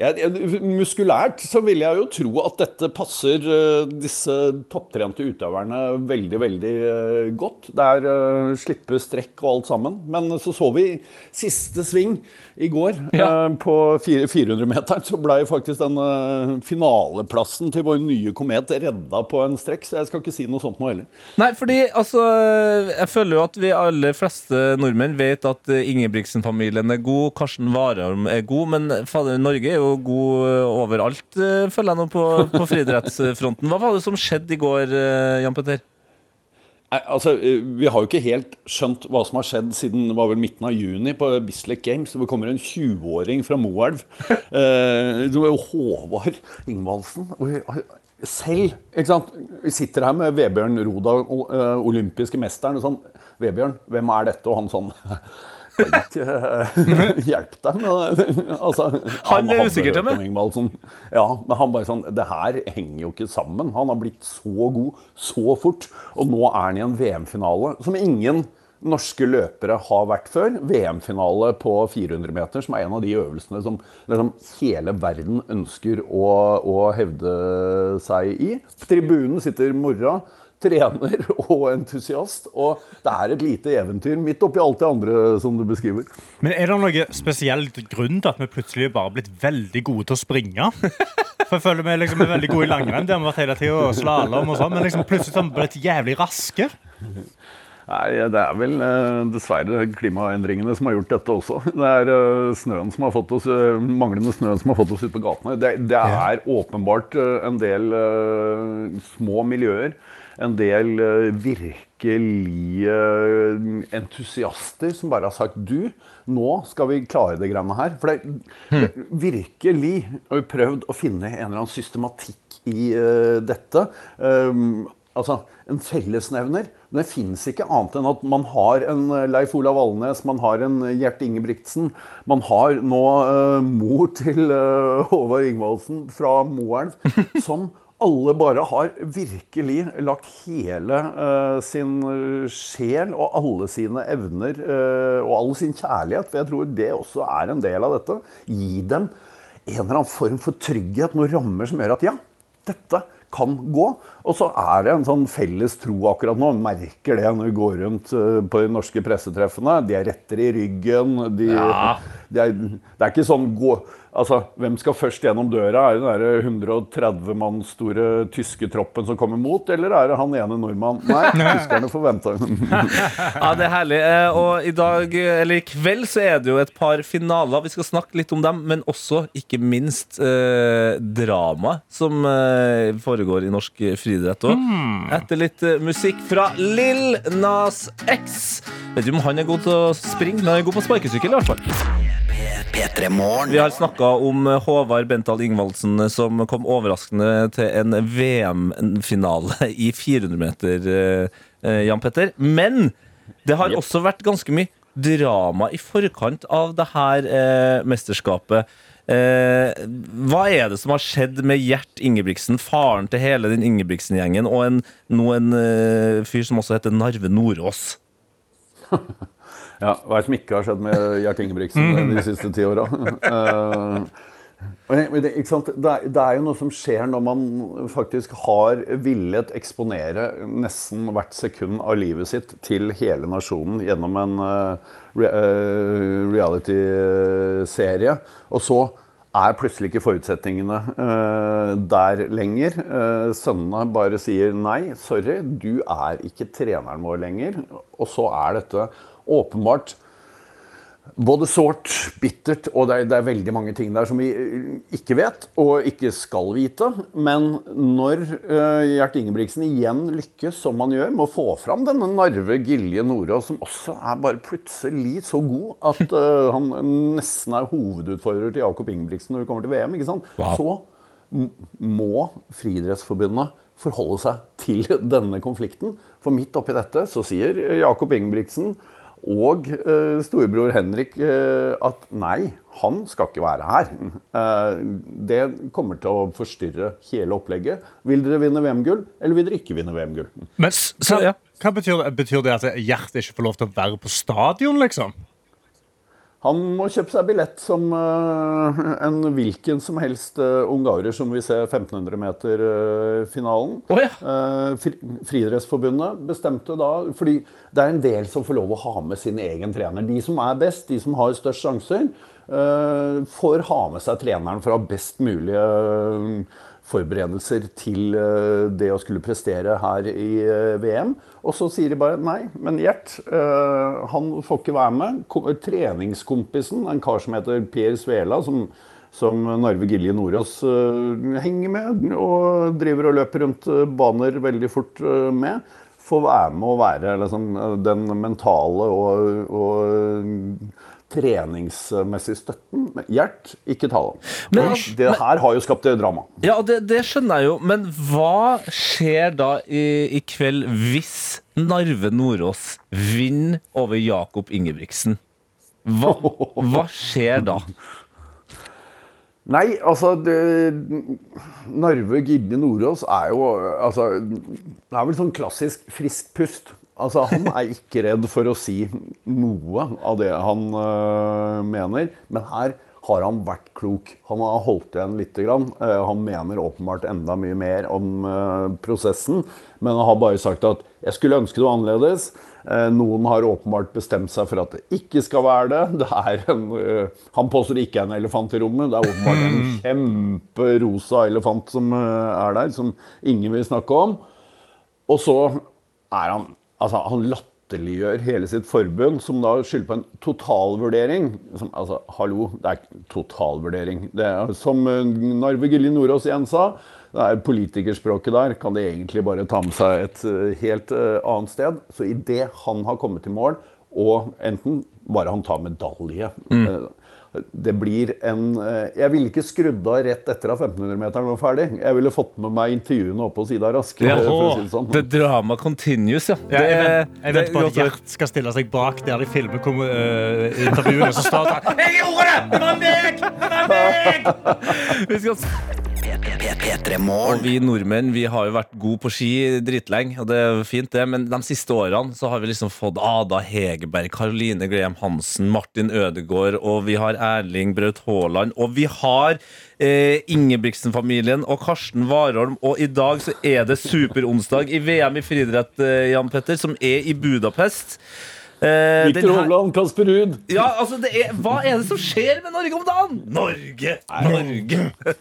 K: jeg, jeg, muskulært så vil jeg jo tro at dette passer uh, disse topptrente utøverne veldig, veldig uh, godt. Det er uh, slippe strekk og alt sammen. Men så så vi siste sving i går. Uh, på fire- 400-meteren så ble faktisk den uh, finaleplassen til vår nye komet redda på en strekk, så jeg skal ikke si noe sånt nå heller.
B: Nei, fordi altså Jeg føler jo at vi aller fleste nordmenn vet at eh, Ingebrigtsen-familien er god, Karsten Warholm er god, men eh, fader, Norge er jo god eh, overalt, eh, føler jeg nå, på, på friidrettsfronten. Hva var det som skjedde i går, eh, Jan Petter?
K: Nei, altså, eh, Vi har jo ikke helt skjønt hva som har skjedd siden det var vel midten av juni på Bislett Games. Hvor det kommer en 20-åring fra Moelv. Eh, det var jo Håvard Ingvaldsen. Og jeg- Selv. ikke sant? Vi sitter her med Vebjørn Roda, o- eh, olympiske mesteren. og sånn, Vebjørn, hvem er dette? Og han sånn «Jeg vet ikke, eh, Hjelp deg med det. Altså,
B: Han er
K: hadde
B: usikker til
K: hørt om
B: meg.
K: Ingvaldsen. Ja, men han bare sånn Det her henger jo ikke sammen. Han har blitt så god så fort, og nå er han i en VM-finale som ingen norske løpere har vært før. VM-finale på 400 meter, som er en av de øvelsene som liksom, hele verden ønsker å, å hevde seg i. På tribunen sitter mora. Trener og entusiast. Og det er et lite eventyr midt oppi alt det andre som du beskriver.
C: Men er det noe spesiell grunn til at vi plutselig bare har blitt veldig gode til å springe? For jeg føler vi liksom er veldig gode i langrenn, det har vi vært hele tiden, og slalåm og sånn, men liksom plutselig har vi blitt jævlig raske.
K: Nei, det er vel eh, dessverre klimaendringene som har gjort dette også. Det er eh, snøen som har fått oss, eh, manglende snøen som har fått oss ut på gatene. Det, det er åpenbart eh, en del eh, små miljøer, en del eh, virkelige eh, entusiaster som bare har sagt du, nå skal vi klare det greiene her. For det, virkelig har vi prøvd å finne en eller annen systematikk i eh, dette. Um, Altså, En fellesnevner. Men det fins ikke annet enn at man har en eh, Leif Olav Valnes, man har en eh, Gjert Ingebrigtsen. Man har nå eh, mor til eh, Håvard Ingvaldsen fra Moelv, som alle bare har virkelig lagt hele eh, sin sjel og alle sine evner eh, og all sin kjærlighet, for jeg tror det også er en del av dette. Gi dem en eller annen form for trygghet, noen rammer som gjør at ja, dette kan gå. Og så er det en sånn felles tro akkurat nå. Merker det når vi går rundt eh, på de norske pressetreffene. De er retter i ryggen. De, det, er, det er ikke sånn gå, Altså, Hvem skal først gjennom døra? Er det den der 130 mann store tyske troppen som kommer mot, eller er det han ene nordmannen? Nei, tyskerne får vente.
B: Ja, det er herlig. Eh, Og i dag, eh, eller i kveld, så er det jo et par finaler. Vi skal snakke litt om dem, men også, ikke minst, eh, drama som eh, foregår i norsk friidrett òg.
L: Mm.
B: Etter litt eh, musikk fra Lill Nas X. Vet ikke om han er god til å springe, men han er god på sparkesykkel, i hvert fall. Vi har snakka om eh, Håvard Bental Ingvaldsen eh, som kom overraskende til en VM-finale i 400 meter, eh, Jan Petter. Men det har også vært ganske mye drama i forkant av det her eh, mesterskapet. Eh, hva er det som har skjedd med Gjert Ingebrigtsen, faren til hele den Ingebrigtsen-gjengen, og en, nå en eh, fyr som også heter Narve Nordås?
K: Ja, Hva er det som ikke har skjedd med Gjert Ingebrigtsen de siste ti åra? Eh, men det, ikke sant? Det, er, det er jo noe som skjer når man faktisk har villet eksponere nesten hvert sekund av livet sitt til hele nasjonen gjennom en eh, re, eh, reality-serie. Og så er plutselig ikke forutsetningene eh, der lenger. Eh, sønnene bare sier nei, sorry, du er ikke treneren vår lenger. Og så er dette åpenbart både sårt, bittert, og det er, det er veldig mange ting der som vi eh, ikke vet, og ikke skal vite. Men når eh, Gjert Ingebrigtsen igjen lykkes som han gjør, med å få fram denne Narve Gilje Nordås, som også er bare plutselig så god at eh, han nesten er hovedutfordrer til Jakob Ingebrigtsen når det kommer til VM, ikke sant? så m- må Friidrettsforbundet forholde seg til denne konflikten. For midt oppi dette så sier Jakob Ingebrigtsen og eh, storebror Henrik eh, at nei, han skal ikke være her. Eh, det kommer til å forstyrre hele opplegget. Vil dere vinne VM-gull, eller vil dere ikke vinne VM-gull?
C: Men s- hva, hva betyr det? Betyr det at Gjert ikke får lov til å være på stadion, liksom?
K: Han må kjøpe seg billett som eh, en hvilken som helst eh, ungarer som vil se 1500-meter-finalen. Eh, Friidrettsforbundet bestemte da Fordi det er en del som får lov å ha med sin egen trener. De som er best, de som har størst sjanser, eh, får ha med seg treneren for å ha best mulige eh, forberedelser til eh, det å skulle prestere her i eh, VM. Og så sier de bare nei, men Gjert, eh, han får ikke være med. Ko- Treningskompisen, en kar som heter Per Svela, som, som Narve Gilje Nordås eh, henger med og driver og løper rundt eh, baner veldig fort eh, med, får være med å være liksom, den mentale og, og treningsmessige støtten. Men Gjert, ikke tale om. Og det her har jo skapt eh, drama.
B: Ja, og det, det skjønner jeg jo, men hva skjer da i, i kveld hvis Narve Nordås vinner over Jakob Ingebrigtsen? Hva, hva skjer da?
K: Nei, altså det, Narve Gilje Nordås er jo altså, Det er vel sånn klassisk frisk pust. Altså, han er ikke redd for å si noe av det han øh, mener. Men her har han vært klok. Han har holdt igjen lite grann. Eh, han mener åpenbart enda mye mer om eh, prosessen, men han har bare sagt at 'jeg skulle ønske det var annerledes'. Eh, Noen har åpenbart bestemt seg for at det ikke skal være det. det er en, eh, han påstår det ikke er en elefant i rommet. Det er åpenbart en kjemperosa elefant som eh, er der, som ingen vil snakke om. Og så er han Altså, han latterliggjør hele sitt forbund, som da skylder på en totalvurdering. Som, altså, hallo, det er ikke totalvurdering. Det er, som eh, Narve Gilje Nordås igjen sa, det er politikerspråket der. Kan de egentlig bare ta med seg et eh, helt eh, annet sted? Så idet han har kommet i mål, og enten bare han tar medalje eh, det blir en eh, Jeg ville ikke skrudd av rett etter at 1500-meteren var ferdig. Jeg ville fått med meg intervjuene oppe hos Ida Rask. eh, for å si det sånn.
B: The drama continues, ja.
C: Ja, jeg vent- jeg
B: det-
C: venter på at
B: altså-
C: Gjert skal stille seg bak der de filmer kom, øh, intervjuene. Så står det Jeg gjorde det! Det var meg! Det var meg!
B: Vi skal Og vi nordmenn vi har jo vært gode på ski dritlenge, og det er jo fint, det. Men de siste årene så har vi liksom fått Ada Hegerberg, Karoline Graham Hansen, Martin Ødegaard, og vi har Erling Braut Haaland, og vi har eh, Ingebrigtsen-familien og Karsten Warholm, og i dag så er det superonsdag i VM i friidrett, eh, Jan Petter, som er i Budapest. Eh, den
K: Viktor
B: her-
K: Hovland, Kasper Ruud.
B: Ja, altså, det er, Hva er det som skjer med Norge om dagen? Norge! Norge!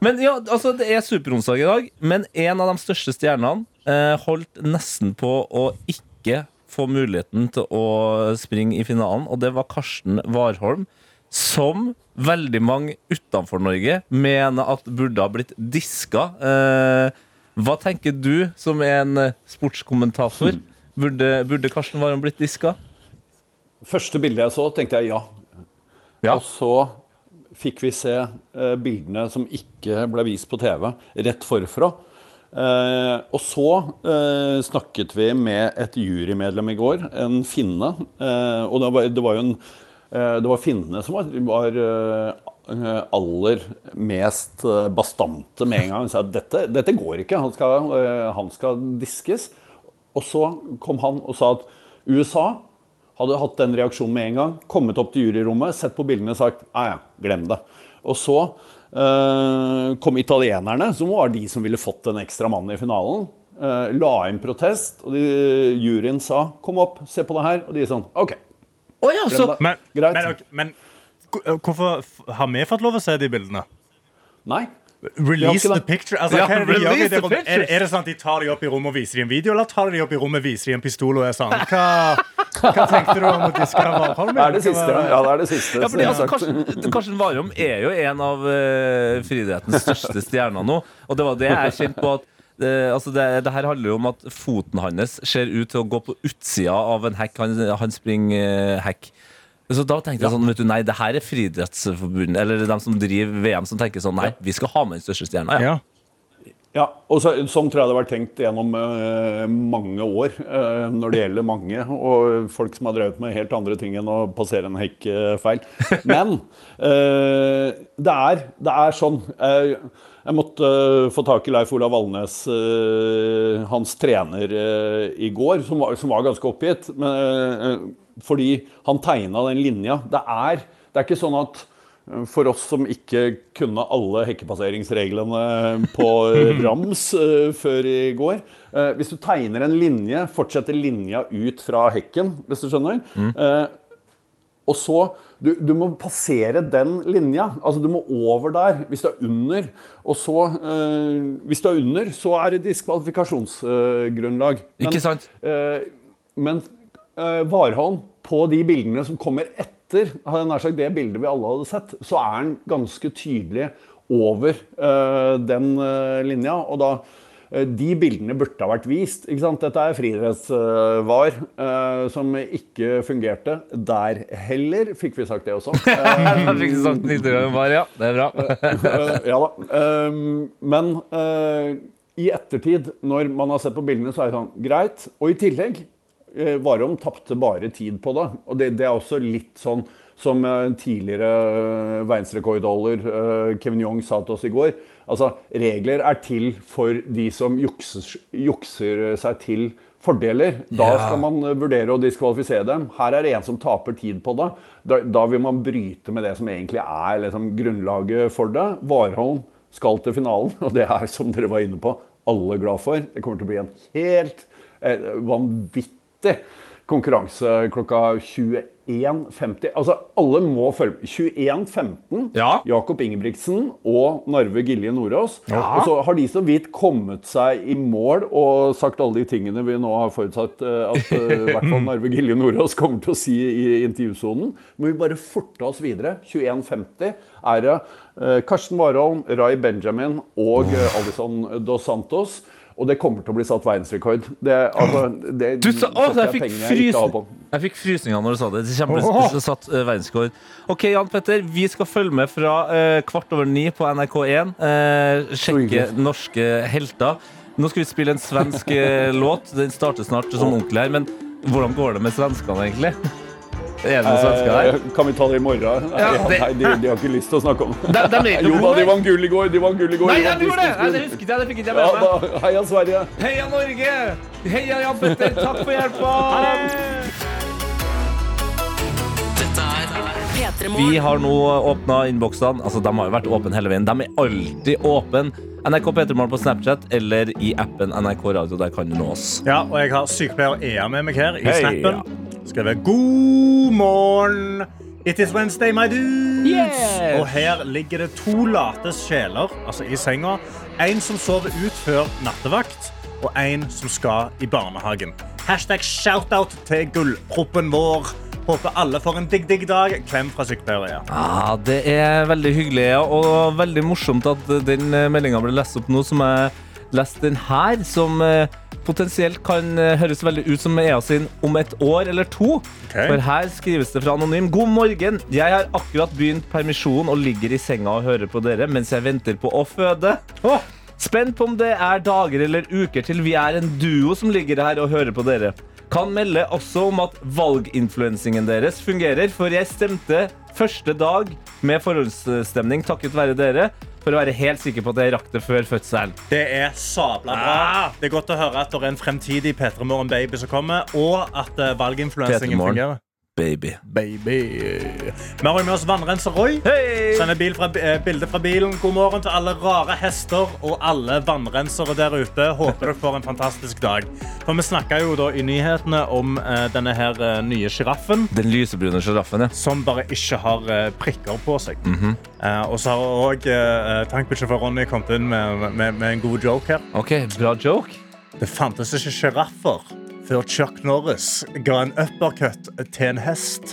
B: men ja, altså, Det er superonsdag i dag, men en av de største stjernene eh, holdt nesten på å ikke få muligheten til å springe i finalen, og det var Karsten Warholm. Som veldig mange utenfor Norge mener at burde ha blitt diska. Eh, hva tenker du, som er en eh, sportskommentator? Burde, burde Karsten Warholm blitt diska?
K: Første bildet jeg så, tenkte jeg ja. Og så fikk vi se eh, bildene som ikke ble vist på TV, rett forfra. Eh, og så eh, snakket vi med et jurymedlem i går, en finne. Eh, og det var, det var jo en eh, Det var finnene som var, var eh, aller mest eh, bastante med en gang. Hun sa at dette, dette går ikke, han skal, eh, han skal diskes. Og så kom han og sa at USA hadde hatt den reaksjonen med en gang, kommet opp til juryrommet, sett på bildene og sagt "Ah, ja, ja, glem det. Og så eh, kom italienerne, som var de som ville fått en ekstra mann i finalen. eh, la inn protest, og de, juryen sa kom opp, se på det her. Og de sånn OK. Glem det.
C: men,
K: Greit.
C: men, ok, men k- eh, hvorfor f- har vi fått lov å se de bildene?
K: Nei.
C: Release
K: Vi
C: the
K: har ikke det.
C: picture. Altså,
K: Ja,
C: hva er, det de gjør i det
K: release the
C: rommet? er,
K: pictures.
C: er det sånn at de tar de opp i rommet og viser de en video, eller tar de de opp i rommet og viser de en pistol og er sånn? Hva, hva tenkte du om å diske Valholm?
K: Det er det siste, ja. Ja, det er det siste.
B: Ja, fordi, altså,
K: Selvsagt.
B: Karsten, Karsten Warholm er jo en av eh, friidrettens største stjerner nå. Og det var det jeg kjente på at eh, altså det, det her handler jo om at foten hans ser ut til å gå på utsida av en hekk. Han, han springer eh, hekk. Så da tenkte jeg sånn, vet du, nei, det her er Friidrettsforbundet, eller de som driver VM, som tenker sånn, nei, vi skal ha med den største stjerna. Ja.
K: Ja, og så, Sånn tror jeg det har vært tenkt gjennom eh, mange år, eh, når det gjelder mange. Og folk som har drevet med helt andre ting enn å passere en hekk eh, feil. Men eh, det, er, det er sånn. Eh, jeg måtte eh, få tak i Leif Olav Valnes, eh, hans trener, eh, i går, som var, som var ganske oppgitt. Men, eh, fordi han tegna den linja. Det er, det er ikke sånn at for oss som ikke kunne alle hekkepasseringsreglene eh, på rams eh, før i går. eh, Hvis du tegner en linje, fortsetter linja ut fra hekken, hvis du skjønner.
B: Mm.
K: eh, Og så du, du må passere den linja. Altså, du må over der hvis du er under. Og så, eh, hvis du er under, så er det diskvalifikasjonsgrunnlag.
B: Ikke sant?
K: Eh, men eh, Warholm, på de bildene som kommer etter hadde jeg nær sagt det bildet vi alle hadde sett, så er han ganske tydelig over eh, den eh, linja. Og da eh, De bildene burde ha vært vist. Ikke sant? Dette er friidrettsvar eh, som ikke fungerte der heller, fikk vi sagt det også.
B: Jeg fikk ikke sagt nytt om var, ja. Det er bra.
K: Eh, ja da. Ehm, men eh, i ettertid, når man har sett på bildene, så er det sånn greit. Og i tillegg, uh, Warholm tapte bare tid på det. Og det, det er også litt sånn som eh, tidligere uh, verdensrekordholder eh, Kevin Young sa til oss i går. Altså, regler er til for de som jukser, jukser seg til fordeler. Da
L: Ja.
K: skal man eh, vurdere å diskvalifisere dem. Her er det en som taper tid på det. Da, da vil man bryte med det som egentlig er liksom, grunnlaget for det. Warholm skal til finalen, og det er, som dere var inne på, alle glad for. Det kommer til å bli en helt eh, vanvittig konkurranse klokka 21.50. Altså, alle må følge 21.15. Jakob Ingebrigtsen og Narve Gilje Nordås.
L: Ja.
K: Og så har de så vidt kommet seg i mål og sagt alle de tingene vi nå har forutsatt eh, at eh, i hvert fall Narve Gilje Nordås kommer til å si i intervjusonen. Må vi bare forte oss videre. 21.50 er det eh, Karsten Warholm, Rai Benjamin og eh, Alison Dos Santos. Og det kommer til å bli satt verdensrekord. Det, altså, det
B: Du sa, å,
K: setter
B: jeg fikk
K: penger jeg ikke har på.
B: frysning Jeg fikk frysninger når du sa det. Det kommer
K: Åh.
B: det satt eh, verdenskår. OK, Jan Petter, vi skal følge med fra eh, kvart over ni på NRK1. eh, sjekke norske helter. Nå skal vi spille en svensk eh, låt. Den starter snart som onkel her. Men hvordan går det med svenskene, egentlig? Er det noen svensker
K: Eh,
B: der?
K: Kan vi ta det i morgen?
B: Ja,
K: Ja,
B: det-
K: Nei, de, de har ikke lyst til å snakke om det.
B: De- de er ikke
K: jo da,
B: gode.
K: de vant gull i går. De vant gull i går.
B: Nei,
K: de
B: ja,
K: vant
B: de gjorde det! Nei,
K: Disney-gull.
B: det husket jeg, det fikk ikke jeg
K: Ja,
B: med meg.
K: da, Heia Sverige!
B: Heia Norge! Heia Jan Petter! Takk for hjelpa!
D: Dette er
B: Vi har nå åpna innboksene. Altså, de har jo vært åpne hele veien. De er alltid åpne. NRK P3morgen på Snapchat eller i appen NRK Radio. Der kan du nå oss.
C: Ja, og jeg har sykepleier Ea med meg her i
B: Hei,
C: snappen. Skal det være god morgen. It is Wednesday, my dudes.
B: Yes.
C: Og her ligger det to late sjeler altså i senga. En som sover ut før nattevakt, og en som skal i barnehagen. Hashtag shoutout til gullproppen vår. Håper alle får en digg-digg dag. Klem fra sykepleier Ea.
B: Ja, det er veldig hyggelig ja, og veldig morsomt at den meldinga ble lest opp nå, som jeg leste den her, som eh, potensielt kan eh, høres veldig ut som EA sin om et år eller to. For her skrives det fra Anonym. God morgen! Jeg har akkurat begynt permisjon og ligger i senga og hører på dere mens jeg venter på å føde. Spent på om det er dager eller uker til vi er en duo som ligger her og hører på dere. Kan melde også om at valginfluensingen deres fungerer, for jeg stemte første dag med forhåndsstemning takket være dere, for å være helt sikker på at jeg rakk det før fødselen.
C: Det er sabla bra.
B: Ah.
C: Det er godt å høre at det er en fremtidig P3 Morgen-baby som kommer, og at eh, valginfluensingen
B: Petermorgen.
C: fungerer.
B: Baby.
C: Baby. Vi har med oss vannrenser Roy. Sender bil fra, eh, bilde fra bilen. God morgen til alle rare hester og alle vannrensere der ute. Håper dere får en fantastisk dag. For vi snakka jo da i nyhetene om eh, denne her eh, nye sjiraffen.
B: Den lysebrune sjiraffen, ja.
C: Som bare ikke har eh, prikker på seg.
B: Mhm.
C: Eh, og så har òg eh, tankbilsjåfør Ronny kommet inn med, med, med en god joke her.
B: Ok, bra joke.
C: Det fantes ikke sjiraffer før Chuck Norris ga en uppercut til en hest.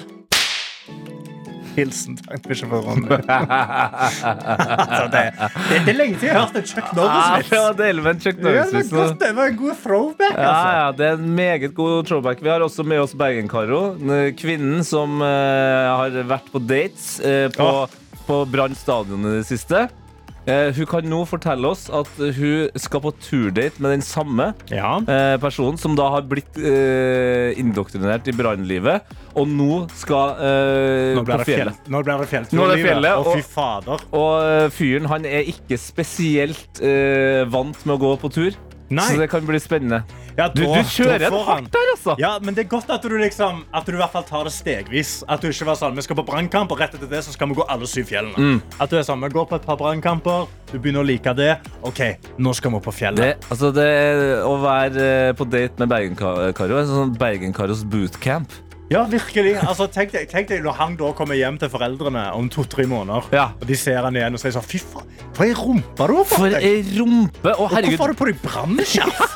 C: Hilsen tankbilsjåfør Ronny. altså, det, det, det er lenge siden jeg har hørt en Chuck
B: Ah,
C: Norris-vits.
B: det var delvenn Chuck
C: Ja, det,
B: Norris-vits
C: var
B: nå.
C: godt, det var en god throwback. Altså.
B: Ja, ja, det er en meget god throwback. Vi har også med oss Bergen-Karo. n- Kvinnen som eh, har vært på dates eh, på,
C: Åh.
B: på Brann stadion i det siste. Eh, hun kan nå fortelle oss at hun skal på turdate med den samme eh, personen som da har blitt eh, indoktrinert i brannlivet, og nå skal eh,
C: Nå blir
B: på
C: det fjell.
B: fjellet.
C: Nå blir det fjellet.
B: Nå er det fjellet,
C: Å, fy
B: og-
C: fader.
B: Og eh, fyren han er ikke spesielt eh, vant med å gå på tur,
C: Nei.
B: så det kan bli spennende.
C: Ja,
B: Du-
C: da-
B: du
C: da
B: kjører en
C: får han.
B: hardt der, altså.
C: Ja, men det er godt at du, liksom, at du i hvert fall tar det stegvis. At du ikke var sånn, vi skal på brannkamp, og rett etter det så skal vi gå alle syv fjellene.
B: Mm.
C: At du er sånn, vi går på et par brannkamper, du begynner å like det. OK, nå skal vi på
B: Det,
C: fjellet.
B: altså det å være eh, på date med Bergen-Karo er sånn Bergen-Karos bootcamp.
C: Ja, virkelig. Altså, tenk, deg, tenk deg når han da kommer hjem til foreldrene om to-tre måneder, og de ser han igjen og sier sånn, fy faen, for ei rumpe du har fått
B: For
C: deg.
B: ei rumpe! Å,
C: Og
B: herregud.
C: Hvorfor har du på deg brannskjerf?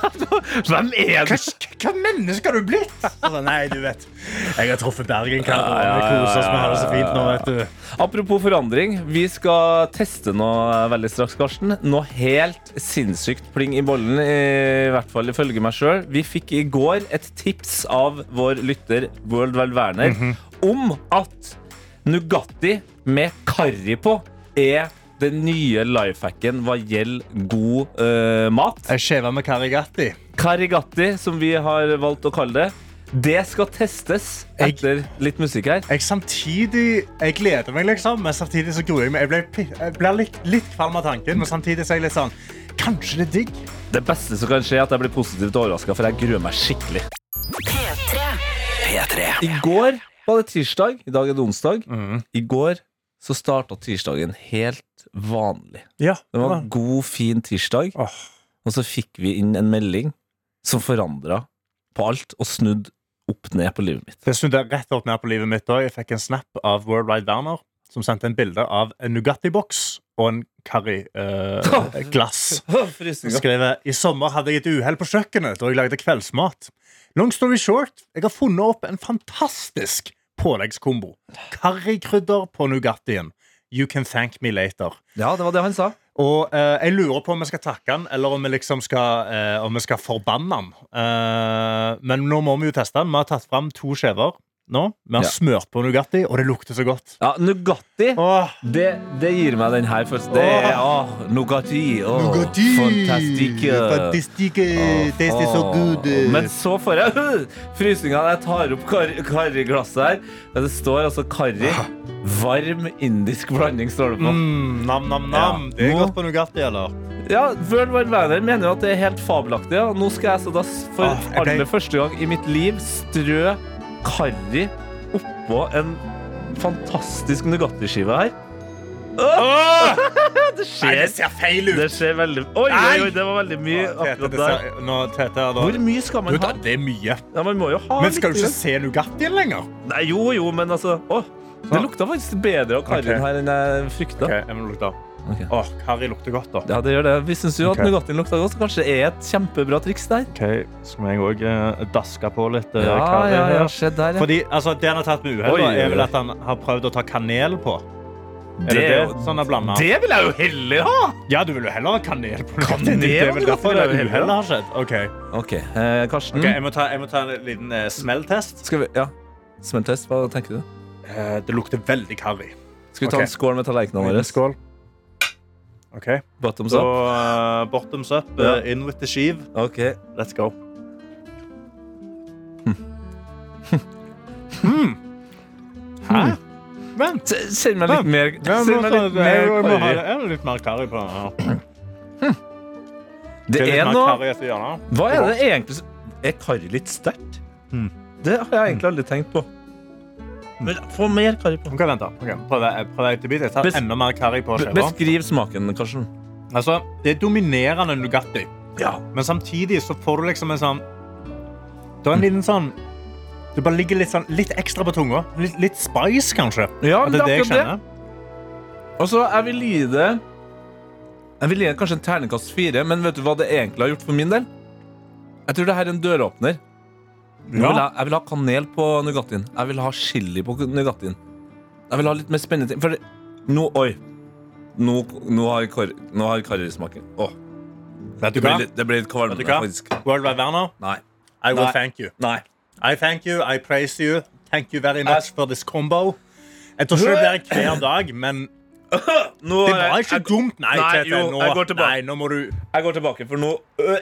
B: Hvem er
C: du? Hva menneske har du blitt? Altså, nei, du vet. Jeg har truffet Bergen, Karo.
B: Ja, ja,
C: Vi koser
B: ja,
C: oss, vi har det så fint nå,
B: ja,
C: vet du.
B: Apropos forandring, vi skal teste noe veldig straks, Karsten. Noe helt sinnssykt pling i bollen, i hvert fall ifølge meg sjøl. Vi fikk i går et tips av vår lytter World Well Werner
C: Mhm.
B: om at Nugatti med karri på er den nye lifehacken hva gjelder god eh, mat.
C: Jeg skjeva med karigatti.
B: Karigatti, som vi har valgt å kalle det. Det skal testes etter litt musikk her.
C: Jeg samtidig Jeg gleder meg, liksom, men samtidig så gruer jeg meg. Jeg ble, pi- jeg ble litt, litt kvalm av tanken, men samtidig så er jeg litt sånn Kanskje det er digg?
B: Det beste som kan skje, er at jeg blir positivt overraska, for jeg gruer meg skikkelig. I går var det tirsdag. I dag er det onsdag.
C: Mm.
B: I går så starta tirsdagen helt vanlig. det var en god, fin tirsdag. Og så fikk vi inn en melding som forandra på alt, og snudd opp ned på livet mitt.
C: Det snudde rett opp ned på livet mitt da. Jeg fikk en snap av Worldwide Werner, som sendte en bilde av en Nugatti-boks og en eh, curryglass.
B: Frysninger.
C: skriver I sommer hadde jeg et uhell på kjøkkenet da jeg lagde kveldsmat. Long story short, jeg har funnet opp en fantastisk påleggskombo. Karrikrydder på Nugattien. You can thank me later.
B: Ja, det var det han sa.
C: Og eh, jeg lurer på om vi skal takke han, eller om vi liksom skal, eh, om vi skal forbanne han. Eh, men nå må vi jo teste han. Vi har tatt fram to skjever nå. Vi har
B: Ja.
C: smørt på Nugatti, og det lukter så godt.
B: Ja, Nugatti, det, det gir meg den her følelsen. Det er åh, Nugatti. Åh, Fantastisk.
C: Fantastisk, det er så god.
B: Men så får jeg frysninga når jeg tar opp kar karriglasset her. Det står altså karri. Varm indisk blanding, står det på.
C: Mm, nam, nam, nam.
B: Ja.
C: Det er
B: Nå-
C: godt på Nugatti, eller?
B: Ja, World Wide Werner mener jo at det er helt fabelaktig. Ja. Nå skal jeg så da s- for
C: Ah, jeg ble-
B: aller første gang i mitt liv strø karri oppå en fantastisk Nugatti-skive her. det skjer.
C: Nei, det ser feil ut.
B: Det skjer veldig Oi, oi, oi, det var veldig mye akkurat der. Hvor mye skal man ha?
C: Det er mye.
B: Ja, man må jo ha
C: Men skal
B: litt
C: du ikke
B: grann.
C: se Nugattien lenger?
B: Nei, jo, jo, men altså Å, det lukta faktisk bedre av karrien
C: Ok.
B: her enn jeg frykta.
C: Ok, jeg må lukte.
B: Ok.
C: Åh, karri lukter godt, da.
B: Ja, det gjør det. Vi syns jo
C: Ok.
B: at Nugattien lukta godt, så kanskje det er et kjempebra triks der.
C: Ok, Skal jeg òg eh, daske på litt eh,
B: Ja,
C: karri
B: ja, ja,
C: her?
B: se der, ja.
C: Fordi, altså, Det han har tatt med
B: Oi,
C: uhell, da,
B: oi,
C: er vel
B: oi.
C: at han har prøvd å ta kanel på. Er det,
B: Det
C: det,
B: er jo-
C: sånn han blander?
B: Det vil jeg jo heller ha!
C: Ja, du vil jo heller ha kanel på
B: Kanel
C: Det er vel
B: på
C: derfor
B: Nugatti,
C: det
B: det er jo
C: uhellet har skjedd. Ok,
B: OK, eh, Karsten.
C: Ok, jeg, må ta, jeg må ta en liten eh, smelltest.
B: Skal vi Ja. Smelltest, hva tenker du?
C: Eh, det lukter veldig karri.
B: Skal vi ta
C: Ok.
B: en skål med tallerkenene våre?
C: Skål. OK.
B: Bottoms
C: Så
B: up.
C: eh, bottoms up,
B: Ja.
C: eh, in with the skive.
B: OK.
C: Let's go. Hmm. Hæ? Vent.
B: Se- Send meg litt mer Send meg litt mer karri.
C: er litt mer karri på den her.
B: Det er noe
C: etter hjørnet.
B: Hva er det egentlig som- Er karri litt sterkt? Det har jeg egentlig aldri tenkt på. Men få mer karri på.
C: Ok, vent da. Ok, Prøv jeg- prøv jeg til bit. Jeg tar
B: Bes-
C: enda mer karri på
B: Be-
C: skiva.
B: Beskriv smaken, Karsten.
C: Altså, det er dominerende Nugatti,
B: Ja.
C: men samtidig så får du liksom en sånn Du har en liten sånn Du bare ligger litt, sånn, litt ekstra på tunga. Litt, litt spice, kanskje.
B: Ja,
C: Og det er det jeg kjenner.
B: Og så jeg vil gi det Jeg vil gi det kanskje en terningkast fire, men vet du hva det egentlig har gjort for min del? Jeg tror det her er en døråpner. Nå Vil
C: Ja.
B: jeg, jeg vil ha kanel på Nugattien. Jeg vil ha chili på Nugattien. Jeg vil ha litt mer spennende ting. For det- nå Oi. Nå, nå har kar- nå har karrismaken Åh,
C: Vet du
B: det ble
C: hva?
B: litt, det ble litt kvalm.
C: Vet du hva?
B: faktisk.
C: World Wide Werner,
B: Nei.
C: I will
B: Nei.
C: thank you.
B: Nei.
C: I thank you, I praise you. Thank you very much for this combo. Jeg tror ikke det blir hver dag, men
B: Nå
C: det
B: har
C: var
B: jeg-
C: ikke
B: jeg-
C: dumt. Nei,
B: Nei,
C: Tete,
B: jo,
C: nå,
B: jeg går tilbake.
C: nei, nå må du
B: Jeg går tilbake, for nå øh,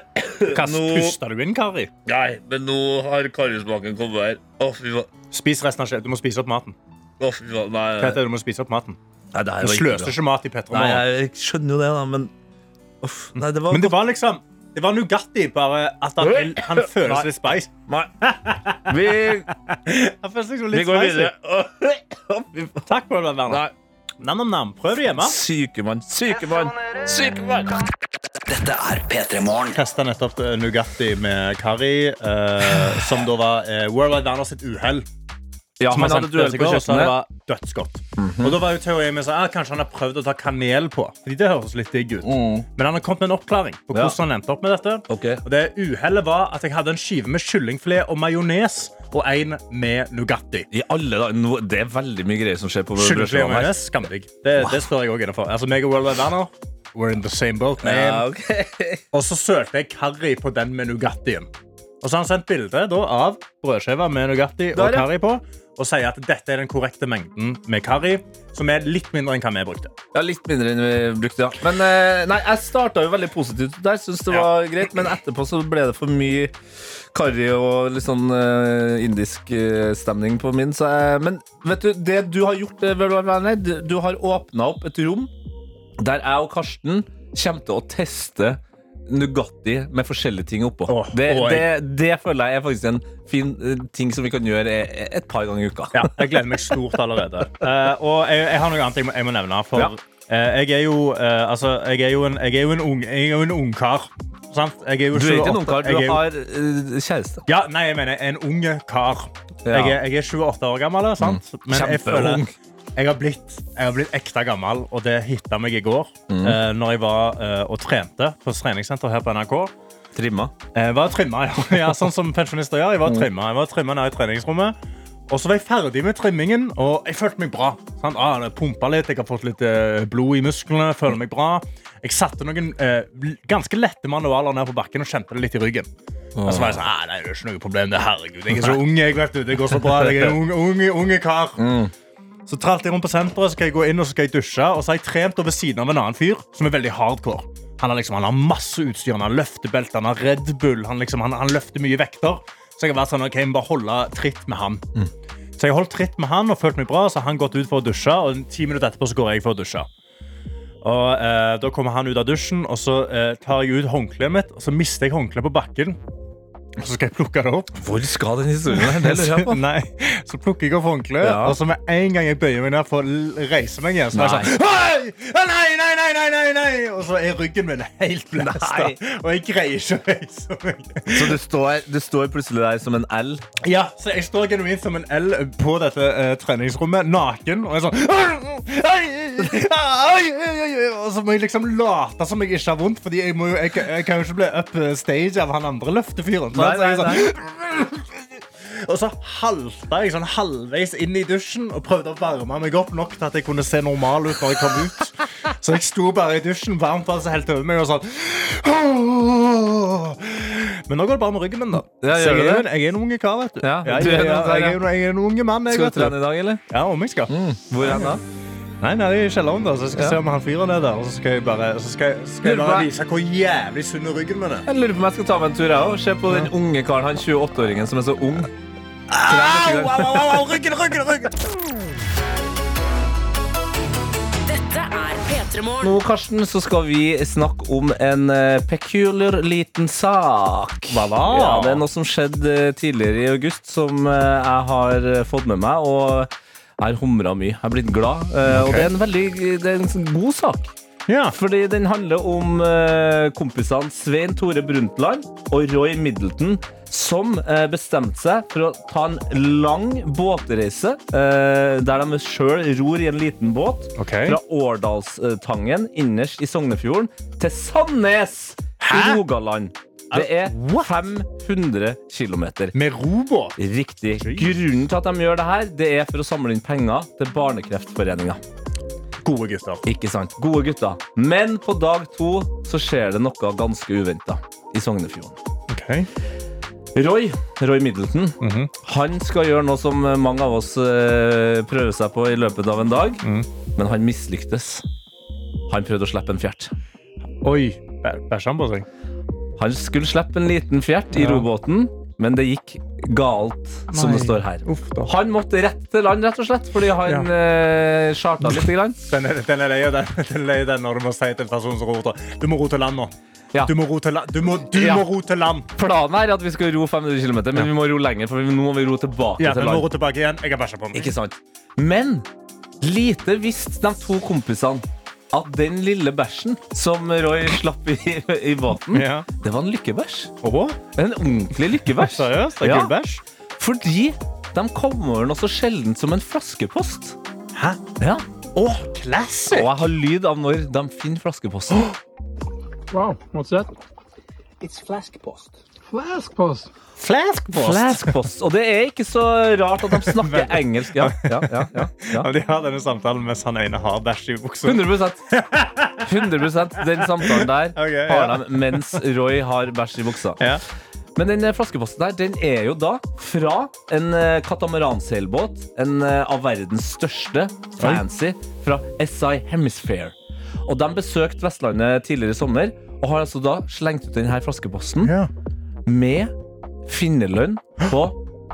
C: Kast,
B: Nå-
C: Puster du inn, Kari?
B: Nei, men nå har karrismaken kommet her. Å, fy faen.
C: Spis resten av skjeen. Du må spise opp maten.
B: Å, fy faen. Nei, nei,
C: Tete, du må spise opp maten.
B: nei, Eh. det her
C: Du
B: var ikke bra.
C: sløser ikke mat i Petter
B: Nei,
C: Morgen.
B: jeg, jeg skjønner jo det, da, men Uff. Nei, det var
C: Men det var liksom Det var Nugatti, bare at han, vil- han føles
B: Nei.
C: litt spice.
B: Nei. Vi,
C: Han føles liksom
B: vi
C: litt
B: går
C: spicy.
B: videre. Å, fy faen.
C: Takk, World Wide Werner.
B: Nei.
C: Nam, nam, nam. Prøv det hjemme.
B: Sykemann, sykemann, sykemann!
A: Dette er P3 Morgen.
C: testa nettopp eh, Nugatti med Kari, eh, som da var eh, World Wide Werner sitt uhell.
B: Ja,
C: Som
B: han
C: han
B: hadde
C: sendte
B: duell
C: til
B: på
C: går, og så det
B: kjøkkenet.
C: var dødsgodt. Og da var jo teorien min sånn, ah, Kanskje han har prøvd å ta kanel på. Fordi det høres litt digg ut.
B: Mm.
C: Men han har kommet med en oppklaring på hvordan
B: Ja.
C: han endte opp med dette.
B: Ok.
C: Og det uhellet var at jeg hadde en skive med kyllingfilet og majones og en med Nugatti.
B: I alle dager, nå- Det er veldig mye greier som skjer på
C: Kyllingfilet og
B: brødskiva her.
C: majones, skamdigg. Det, det står jeg òg inne for. Altså, meg og World Wide Werner, we're in the same boat. Man.
B: Ja, ok.
C: Og så sølte jeg karri på den med Nugattien. Og så har han sendt bilde da av brødskiva med Nugatti
B: Der,
C: og
B: ja.
C: karri på. Og sier at dette er den korrekte mengden med karri, som er litt mindre enn hva vi brukte.
B: Ja, Litt mindre enn vi brukte, ja. Men eh, nei, jeg starta jo veldig positivt ut der, synes det
C: Ja.
B: var greit, men etterpå så ble det for mye karri og litt sånn eh, indisk eh, stemning på min. Så, jeg- men vet du, det du har gjort, eh, Vebjørn Werner, du- du har åpna opp et rom der jeg og Karsten kommer til å teste Nugatti med forskjellige ting oppå.
C: Åh,
B: det,
C: oi.
B: det, det føler jeg er faktisk en fin eh, ting som vi kan gjøre eh, et par ganger i uka.
C: Ja, jeg gleder meg stort allerede. Eh, og jeg, jeg har noe annet jeg må, jeg må nevne. For
B: Ja.
C: eh, jeg er jo eh, Altså, jeg er jo en, jeg er jo en ung Jeg er jo en ungkar. Sant? Jeg er jo
B: Du er ikke en
C: 28
B: ungkar,
C: jeg er
B: du
C: jo-
B: har eh, kjæreste.
C: Ja, nei, jeg mener en ung kar.
B: Ja. Mm.
C: Jeg, er, jeg er 28 år gammel, sant? men jeg føler
B: Kjempeung.
C: jeg har, blitt, jeg har blitt ekte gammel, og det hitta meg i går.
B: Mm.
C: eh, når jeg var eh, og trente på treningssenter her på NRK.
B: Trimma.
C: Jeg Eh, var trimma, ja. ja sånn som pensjonister gjør. Jeg var trimma, jeg var trimma nede i treningsrommet. Og så var jeg ferdig med trimmingen, og jeg følte meg bra. Sant? Ah, jeg pumpa litt, jeg har fått litt eh, blod i musklene, føler meg bra. Jeg satte noen eh, ganske lette manualer ned på bakken og kjente det litt i ryggen. Og så var jeg sånn, «Ah, nei, det er ikke noe problem, det herregud. Jeg er så ung, jeg vet du. Det går så bra. Jeg er en ung, ung, unge kar. Så tralt jeg rundt på senteret, så skal jeg gå inn og så skal jeg dusje. Og så har jeg trent over siden av en annen fyr som er veldig hardcore. Han har, liksom, han har masse utstyr, han har løftebelte, han har Red Bull, han, liksom, han, han løfter mye vekter. Så jeg har vært sånn, ok, jeg må bare holde tritt med han. Så jeg holdt tritt med han og følte meg bra, så har han gått ut for å dusje, og ti minutter etterpå så går jeg for å dusje. Og eh, Da kommer han ut av dusjen, og så eh, tar jeg ut håndkleet mitt, og så mister jeg håndkleet på bakken. Og så skal jeg plukke det opp.
B: Hvor skal den historien her? Det lurer jeg på.
C: Nei, Så plukker jeg opp håndkleet,
B: Ja.
C: og så med en gang jeg bøyer meg ned for å l- reise meg igjen, så er jeg sånn Hei! Å, Nei, nei, nei, nei, nei, nei! Og så er ryggen min helt blasta. Og jeg greier ikke å reise meg.
B: Så du står, du står plutselig der som en L?
C: Ja, så jeg står genuint som en L på dette eh, treningsrommet, naken, og jeg er sånn «Ai, ai, ai, ai, ai», Og så må jeg liksom late som jeg ikke har vondt, Fordi jeg, må jo, jeg, jeg kan jo ikke bli upstage av han andre løftefyren. sant?
B: Nei,
C: Så jeg er
B: nei,
C: sånn, Og så halta jeg sånn halvveis inn i dusjen og prøvde å varme meg opp nok til at jeg kunne se normal ut når jeg kom ut. Så jeg sto bare i dusjen, varmt vann som helte over meg, og sånn «Åh». Men nå går det bra med ryggen min, da.
B: Ja,
C: så
B: gjør det
C: jeg er jo
B: det?
C: en, jeg er en unge kar, vet du.
B: Ja,
C: Ja,
B: du
C: ja,
B: er
C: ja,
B: noen der,
C: jeg er
B: ja.
C: jo en, jeg er en unge mann. Jeg,
B: Skal du
C: vet
B: trene i dag, eller?
C: Ja, om jeg skal.
B: Hvor er den da?
C: Nei, nei, i kjelleren der, så jeg skal
B: Ja.
C: se om han fyren er der. Og så skal jeg bare, så skal jeg, skal jeg
B: Lurer på
C: bare
B: meg.
C: vise hvor jævlig sunn ryggen min er.
B: Jeg lurer på om jeg skal ta meg en tur, jeg òg. Se på den unge karen, han 28-åringen som er så ung.
C: Au, au, au, au, au, ryggen, ryggen, ryggen!
D: Dette er P3 Morgen.
B: Nå, Karsten, så skal vi snakke om en eh, peculiar liten sak.
C: Hva da?
B: Ja, det er noe som skjedde eh, tidligere i august som eh, jeg har eh, fått med meg, og jeg har humra mye. Jeg har blitt glad. eh, Og
C: Ok.
B: det er en veldig det er en sånn god sak.
C: Ja.
B: Fordi den handler om eh, kompisene Svein Tore Brundtland og Roy Middleton, som eh, bestemte seg for å ta en lang båtreise, eh, der de sjøl ror i en liten båt,
C: Ok.
B: fra Årdalstangen innerst i Sognefjorden til Sandnes i Rogaland. Det er 500 km.
C: Med robåt.
B: Riktig. Grunnen til at de gjør det her, det er for å samle inn penger til Barnekreftforeninga.
C: Gode gutter.
B: Ikke sant? Gode gutter. Men på dag to så skjer det noe ganske uventa i Sognefjorden.
C: Ok.
B: Roy, Roy Middleton,
C: Mhm.
B: han skal gjøre noe som mange av oss eh, prøver seg på i løpet av en dag,
C: Mhm.
B: men han mislyktes. Han prøvde å slippe en fjert.
C: Oi. bæ- Bæsja han på seg?
B: Han skulle slippe en liten fjert i
C: Ja.
B: robåten, men det gikk galt, som det
C: Nei.
B: står her.
C: Uff da.
B: Han måtte rett til land, rett og slett, fordi han
C: Ja.
B: eh, charta litt. Grann.
C: Den er, den er lei av den, den, er lei av den når du må si til personen som roter Du må ro til land nå.
B: Ja.
C: Du må ro til land. Du må, du
B: Ja.
C: må ro til land.
B: Planen er at vi skal ro 500 km, men vi må ro lenger, for vi- nå må vi ro tilbake
C: Ja,
B: til
C: du må
B: land.
C: ro tilbake igjen. Jeg har bæsja på meg.
B: Ikke sant? Men lite visste de to kompisene at den lille bæsjen som Roy slapp i, i båten,
C: Ja.
B: det var en lykkebæsj.
C: Åh,
B: En ordentlig lykkebæsj.
C: Seriøst? Det er
B: Ja.
C: gullbæsj?
B: Fordi de kom over den også sjelden som en flaskepost.
C: Hæ?
B: Ja.
C: Åh,
B: Og
C: classic!
B: jeg har lyd av når de finner flaskeposten.
C: Flaskpost!
B: Flaskpost. Og det er ikke så rart at de snakker engelsk. Ja, ja, ja, ja, ja.
C: Ja, de har denne samtalen mens han ene har bæsj i buksa.
B: 100 100 Den samtalen der
C: Ok, ja.
B: har de mens Roy har bæsj i buksa.
C: Ja.
B: Men den eh, flaskeposten der den er jo da fra en eh, katamaranseilbåt, en eh, av verdens største, fancy, fra SI Hemisphere. Og de besøkte Vestlandet tidligere i sommer og har altså da slengt ut denne flaskeposten
C: Ja.
B: med finnerlønn på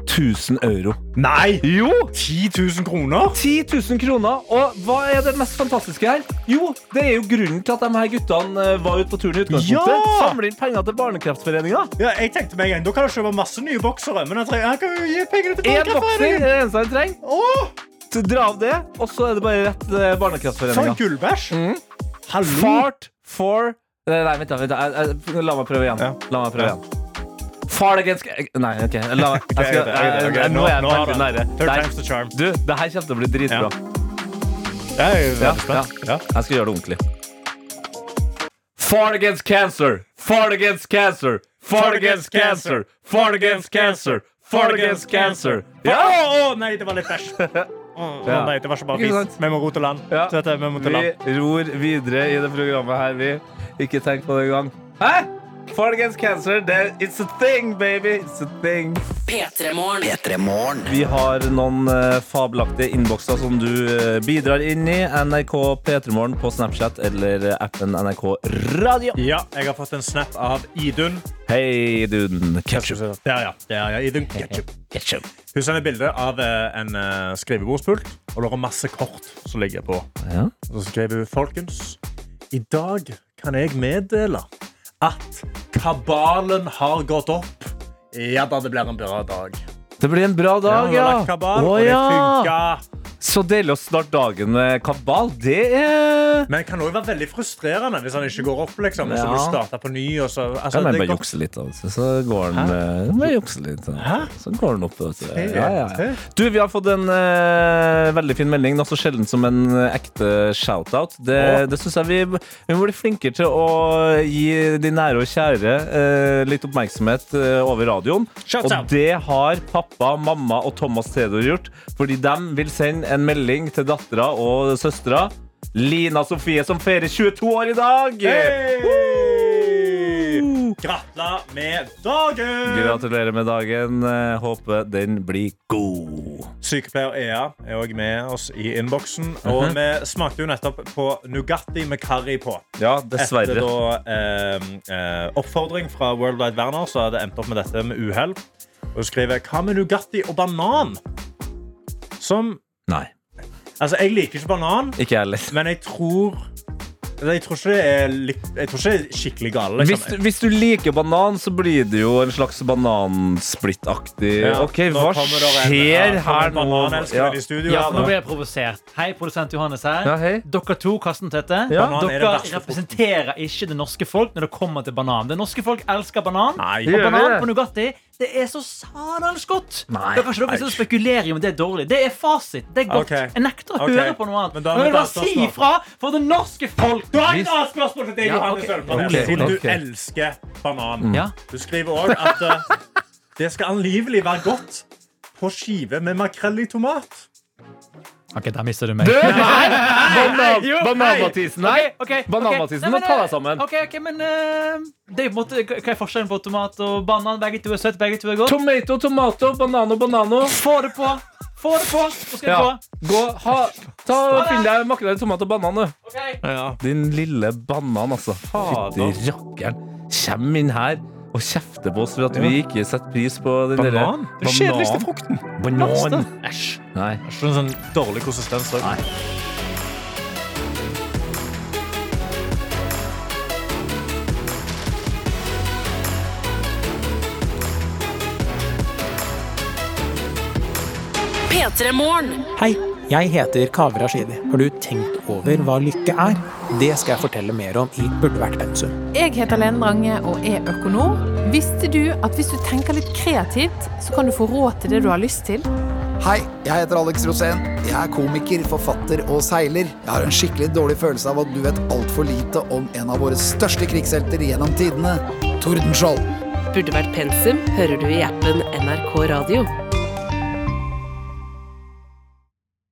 B: 1000 euro.
C: Nei!
B: Jo!
C: 10 000 kroner?
B: 10 000 kroner, og hva er det mest fantastiske her? Jo, det er jo grunnen til at de her guttene eh, var ute på turen i utgangspunktet.
C: Ja!
B: Samle inn penger til Barnekreftforeninga.
C: Ja, jeg tenkte meg en gang, Da kan du kjøpe masse nye boksere. Men jeg, trenger, jeg kan jo gi pengene til
B: Én bokser er
C: Barnekreftforeningen.
B: det eneste han trenger.
C: Åh,
B: Så Dra av det, og så er det bare rett til
C: for en
B: Barnekreftforeninga.
C: gullbæsj!
B: Mm.
C: Hallo!
B: Fart for Nei, nei, vent, da. Vent, da. Jeg- jeg- La meg prøve igjen.
C: Ja.
B: La meg prøve
C: Ja.
B: igjen. Fart against Nei, OK. La meg jeg skal, jeg, jeg, Nå er jeg veldig nære.
C: Third
B: Der.
C: time's the charm.
B: Du, det her kommer til å bli dritbra.
C: Ja, jeg er
B: Ja,
C: veldig
B: ja.
C: spent. Ja.
B: Jeg skal gjøre det ordentlig. Fart against cancer! Fart against cancer! Fart against cancer! Fart against cancer! Fart against cancer!
C: Ja!
B: Ja!
C: Å, å, nei, det var litt bæsj. Å, å,
B: Ja.
C: Nei, det var ikke bare
B: Ikke
C: fis.
B: sant?
C: Vi må ro til land.
B: Ja.
C: Så dette, vi må til land.
B: Vi ror videre i det programmet her, vi. Ikke tenk på det engang. Hæ? Fart against cancer, det- it's a thing, baby! It's a thing.
D: P3 Morgen.
A: P3 Morgen.
B: Vi har noen eh, fabelaktige innbokser som du eh, bidrar inn i. NRK P3morgen på Snapchat eller eh, appen NRK Radio.
C: Ja, jeg har fått en snap av Idun.
B: Hei, duden. Ketchup.
C: Der, ja. Der, ja. Idun Ketchup.
B: Ketchup.
C: Hun sender bilde av eh, en eh, skrivebordspult, og det er masse kort som ligger på.
B: Ja.
C: Så skrev hun folkens, i dag kan jeg meddele at kabalen har gått opp Ja da, det blir en bra dag.
B: Det blir en bra dag,
C: vi har
B: ja.
C: lagt kabal,
B: Å,
C: og det
B: ja. Så deilig å starte dagen med kabal. Det er
C: Men det kan også være veldig frustrerende hvis han ikke går opp. liksom Og så må du
B: Ja.
C: starte på ny. Og så, altså,
B: ja, men
C: det
B: bare
C: går-
B: jukse litt, altså. Så går den, eh, bare jukse litt, altså. Så går den opp. Altså.
C: Se,
B: Ja, ja. ja. Du, vi har fått en eh, veldig fin melding. Noe så sjelden som en eh, ekte shout-out. Det,
C: Åh.
B: det syns jeg vi, vi må bli flinkere til å gi de nære og kjære eh, litt oppmerksomhet eh, over radioen.
C: Shout-out.
B: Og det har pappa, mamma og Thomas Theodor gjort, fordi de vil sende en melding til dattera og søstera. Lina Sofie som feirer 22 år i dag!
C: Hey! Gratulerer med dagen!
B: Gratulerer med dagen. Eh, Håper den blir god.
C: Sykepleier Ea er også med oss i innboksen. Og
B: Mhm.
C: vi smakte jo nettopp på Nugatti med karri på.
B: Ja, dessverre.
C: Etter da, eh, eh, oppfordring fra World Wide Werner så har det endt opp med dette med uhell. Og hun skriver Hva med Nugatti og banan? Som
B: Nei.
C: Altså, jeg liker ikke banan,
B: Ikke heller.
C: men jeg tror jeg tror, ikke det er litt, jeg tror ikke det er skikkelig gale. Liksom.
B: Hvis, hvis du liker banan, så blir det jo en slags banansplitt-aktig
C: Ja,
B: OK,
C: nå
B: hva
C: kommer det en-
B: skjer
C: ja,
B: her nå?
C: kommer bananelskeren i studio,
L: Ja,
C: altså.
L: nå blir jeg provosert. Hei, produsent Johannes her.
B: Ja, hei.
L: Dere to, Karsten og Tete,
B: Ja. Banan er det
L: dere
B: verste
L: representerer ikke det norske folk når det kommer til banan. Det norske folk elsker banan.
B: Nei.
L: og
B: Gjør vi
L: banan
B: det?
L: på Nugatti det er så sanans godt.
B: Nei.
L: Da kan ikke
B: Nei.
L: dere sitte og spekulere i om det er dårlig. Det er fasit. Det er godt.
B: Ok.
L: Jeg nekter å
B: Ok.
L: høre på noe annet.
B: Men
L: Men
B: da er vi
L: jeg vil bare
B: data
L: si
B: snart.
L: ifra for det norske folk. Du har
C: Hvis-
L: et annet spørsmål til deg,
C: Ja,
L: Johannes
C: ok.
L: Sølvmann.
C: Ok, Mm. Siden du
L: ok.
C: elsker banan.
L: Ja.
C: Du skriver òg at eh, det skal angivelig være godt på skive med makrell i tomat.
L: Ok, der mister du meg.
C: Du, nei!
L: Nei,
B: Banan-
L: jo, nei.
B: Banan-Mathisen, nei.
L: Ok, ok, ok.
B: Banan-Mathisen,
L: Nei,
B: nå
L: men,
B: ta deg
L: eh,
B: sammen.
L: Ok, ok, men eh, det er på en måte, Hva er forskjellen på tomat og banan? Begge to er søtt, begge to er godt.
B: Tomato, tomato, banano, banano.
L: Få det på! Få det på! Nå skal
B: Ja.
L: du
B: Gå, ha, ta, Finn deg makrell i tomat og banan, du.
L: Ok.
B: Din lille banan, altså. Fytti rakkeren. Kjem inn her og kjefter på oss for at vi ikke setter pris på den
C: Banan?
B: derre
C: Den kjedeligste frukten.
B: Banan.
C: Verste. Æsj.
B: Nei.
C: Ikke en sånn dårlig konsistens. også.
D: P3 Morgen.
I: Hei, jeg heter Kaveh Rashidi. Har du tenkt over hva lykke er? Det skal jeg fortelle mer om i Burde vært pensum.
M: Jeg heter Lene Drange og er økonom. Visste du at hvis du tenker litt kreativt, så kan du få råd til det du har lyst til?
N: Hei, jeg heter Alex Rosén. Jeg er komiker, forfatter og seiler. Jeg har en skikkelig dårlig følelse av at du vet altfor lite om en av våre største krigshelter gjennom tidene, Tordenskjold.
O: Burde vært pensum hører du i appen NRK Radio.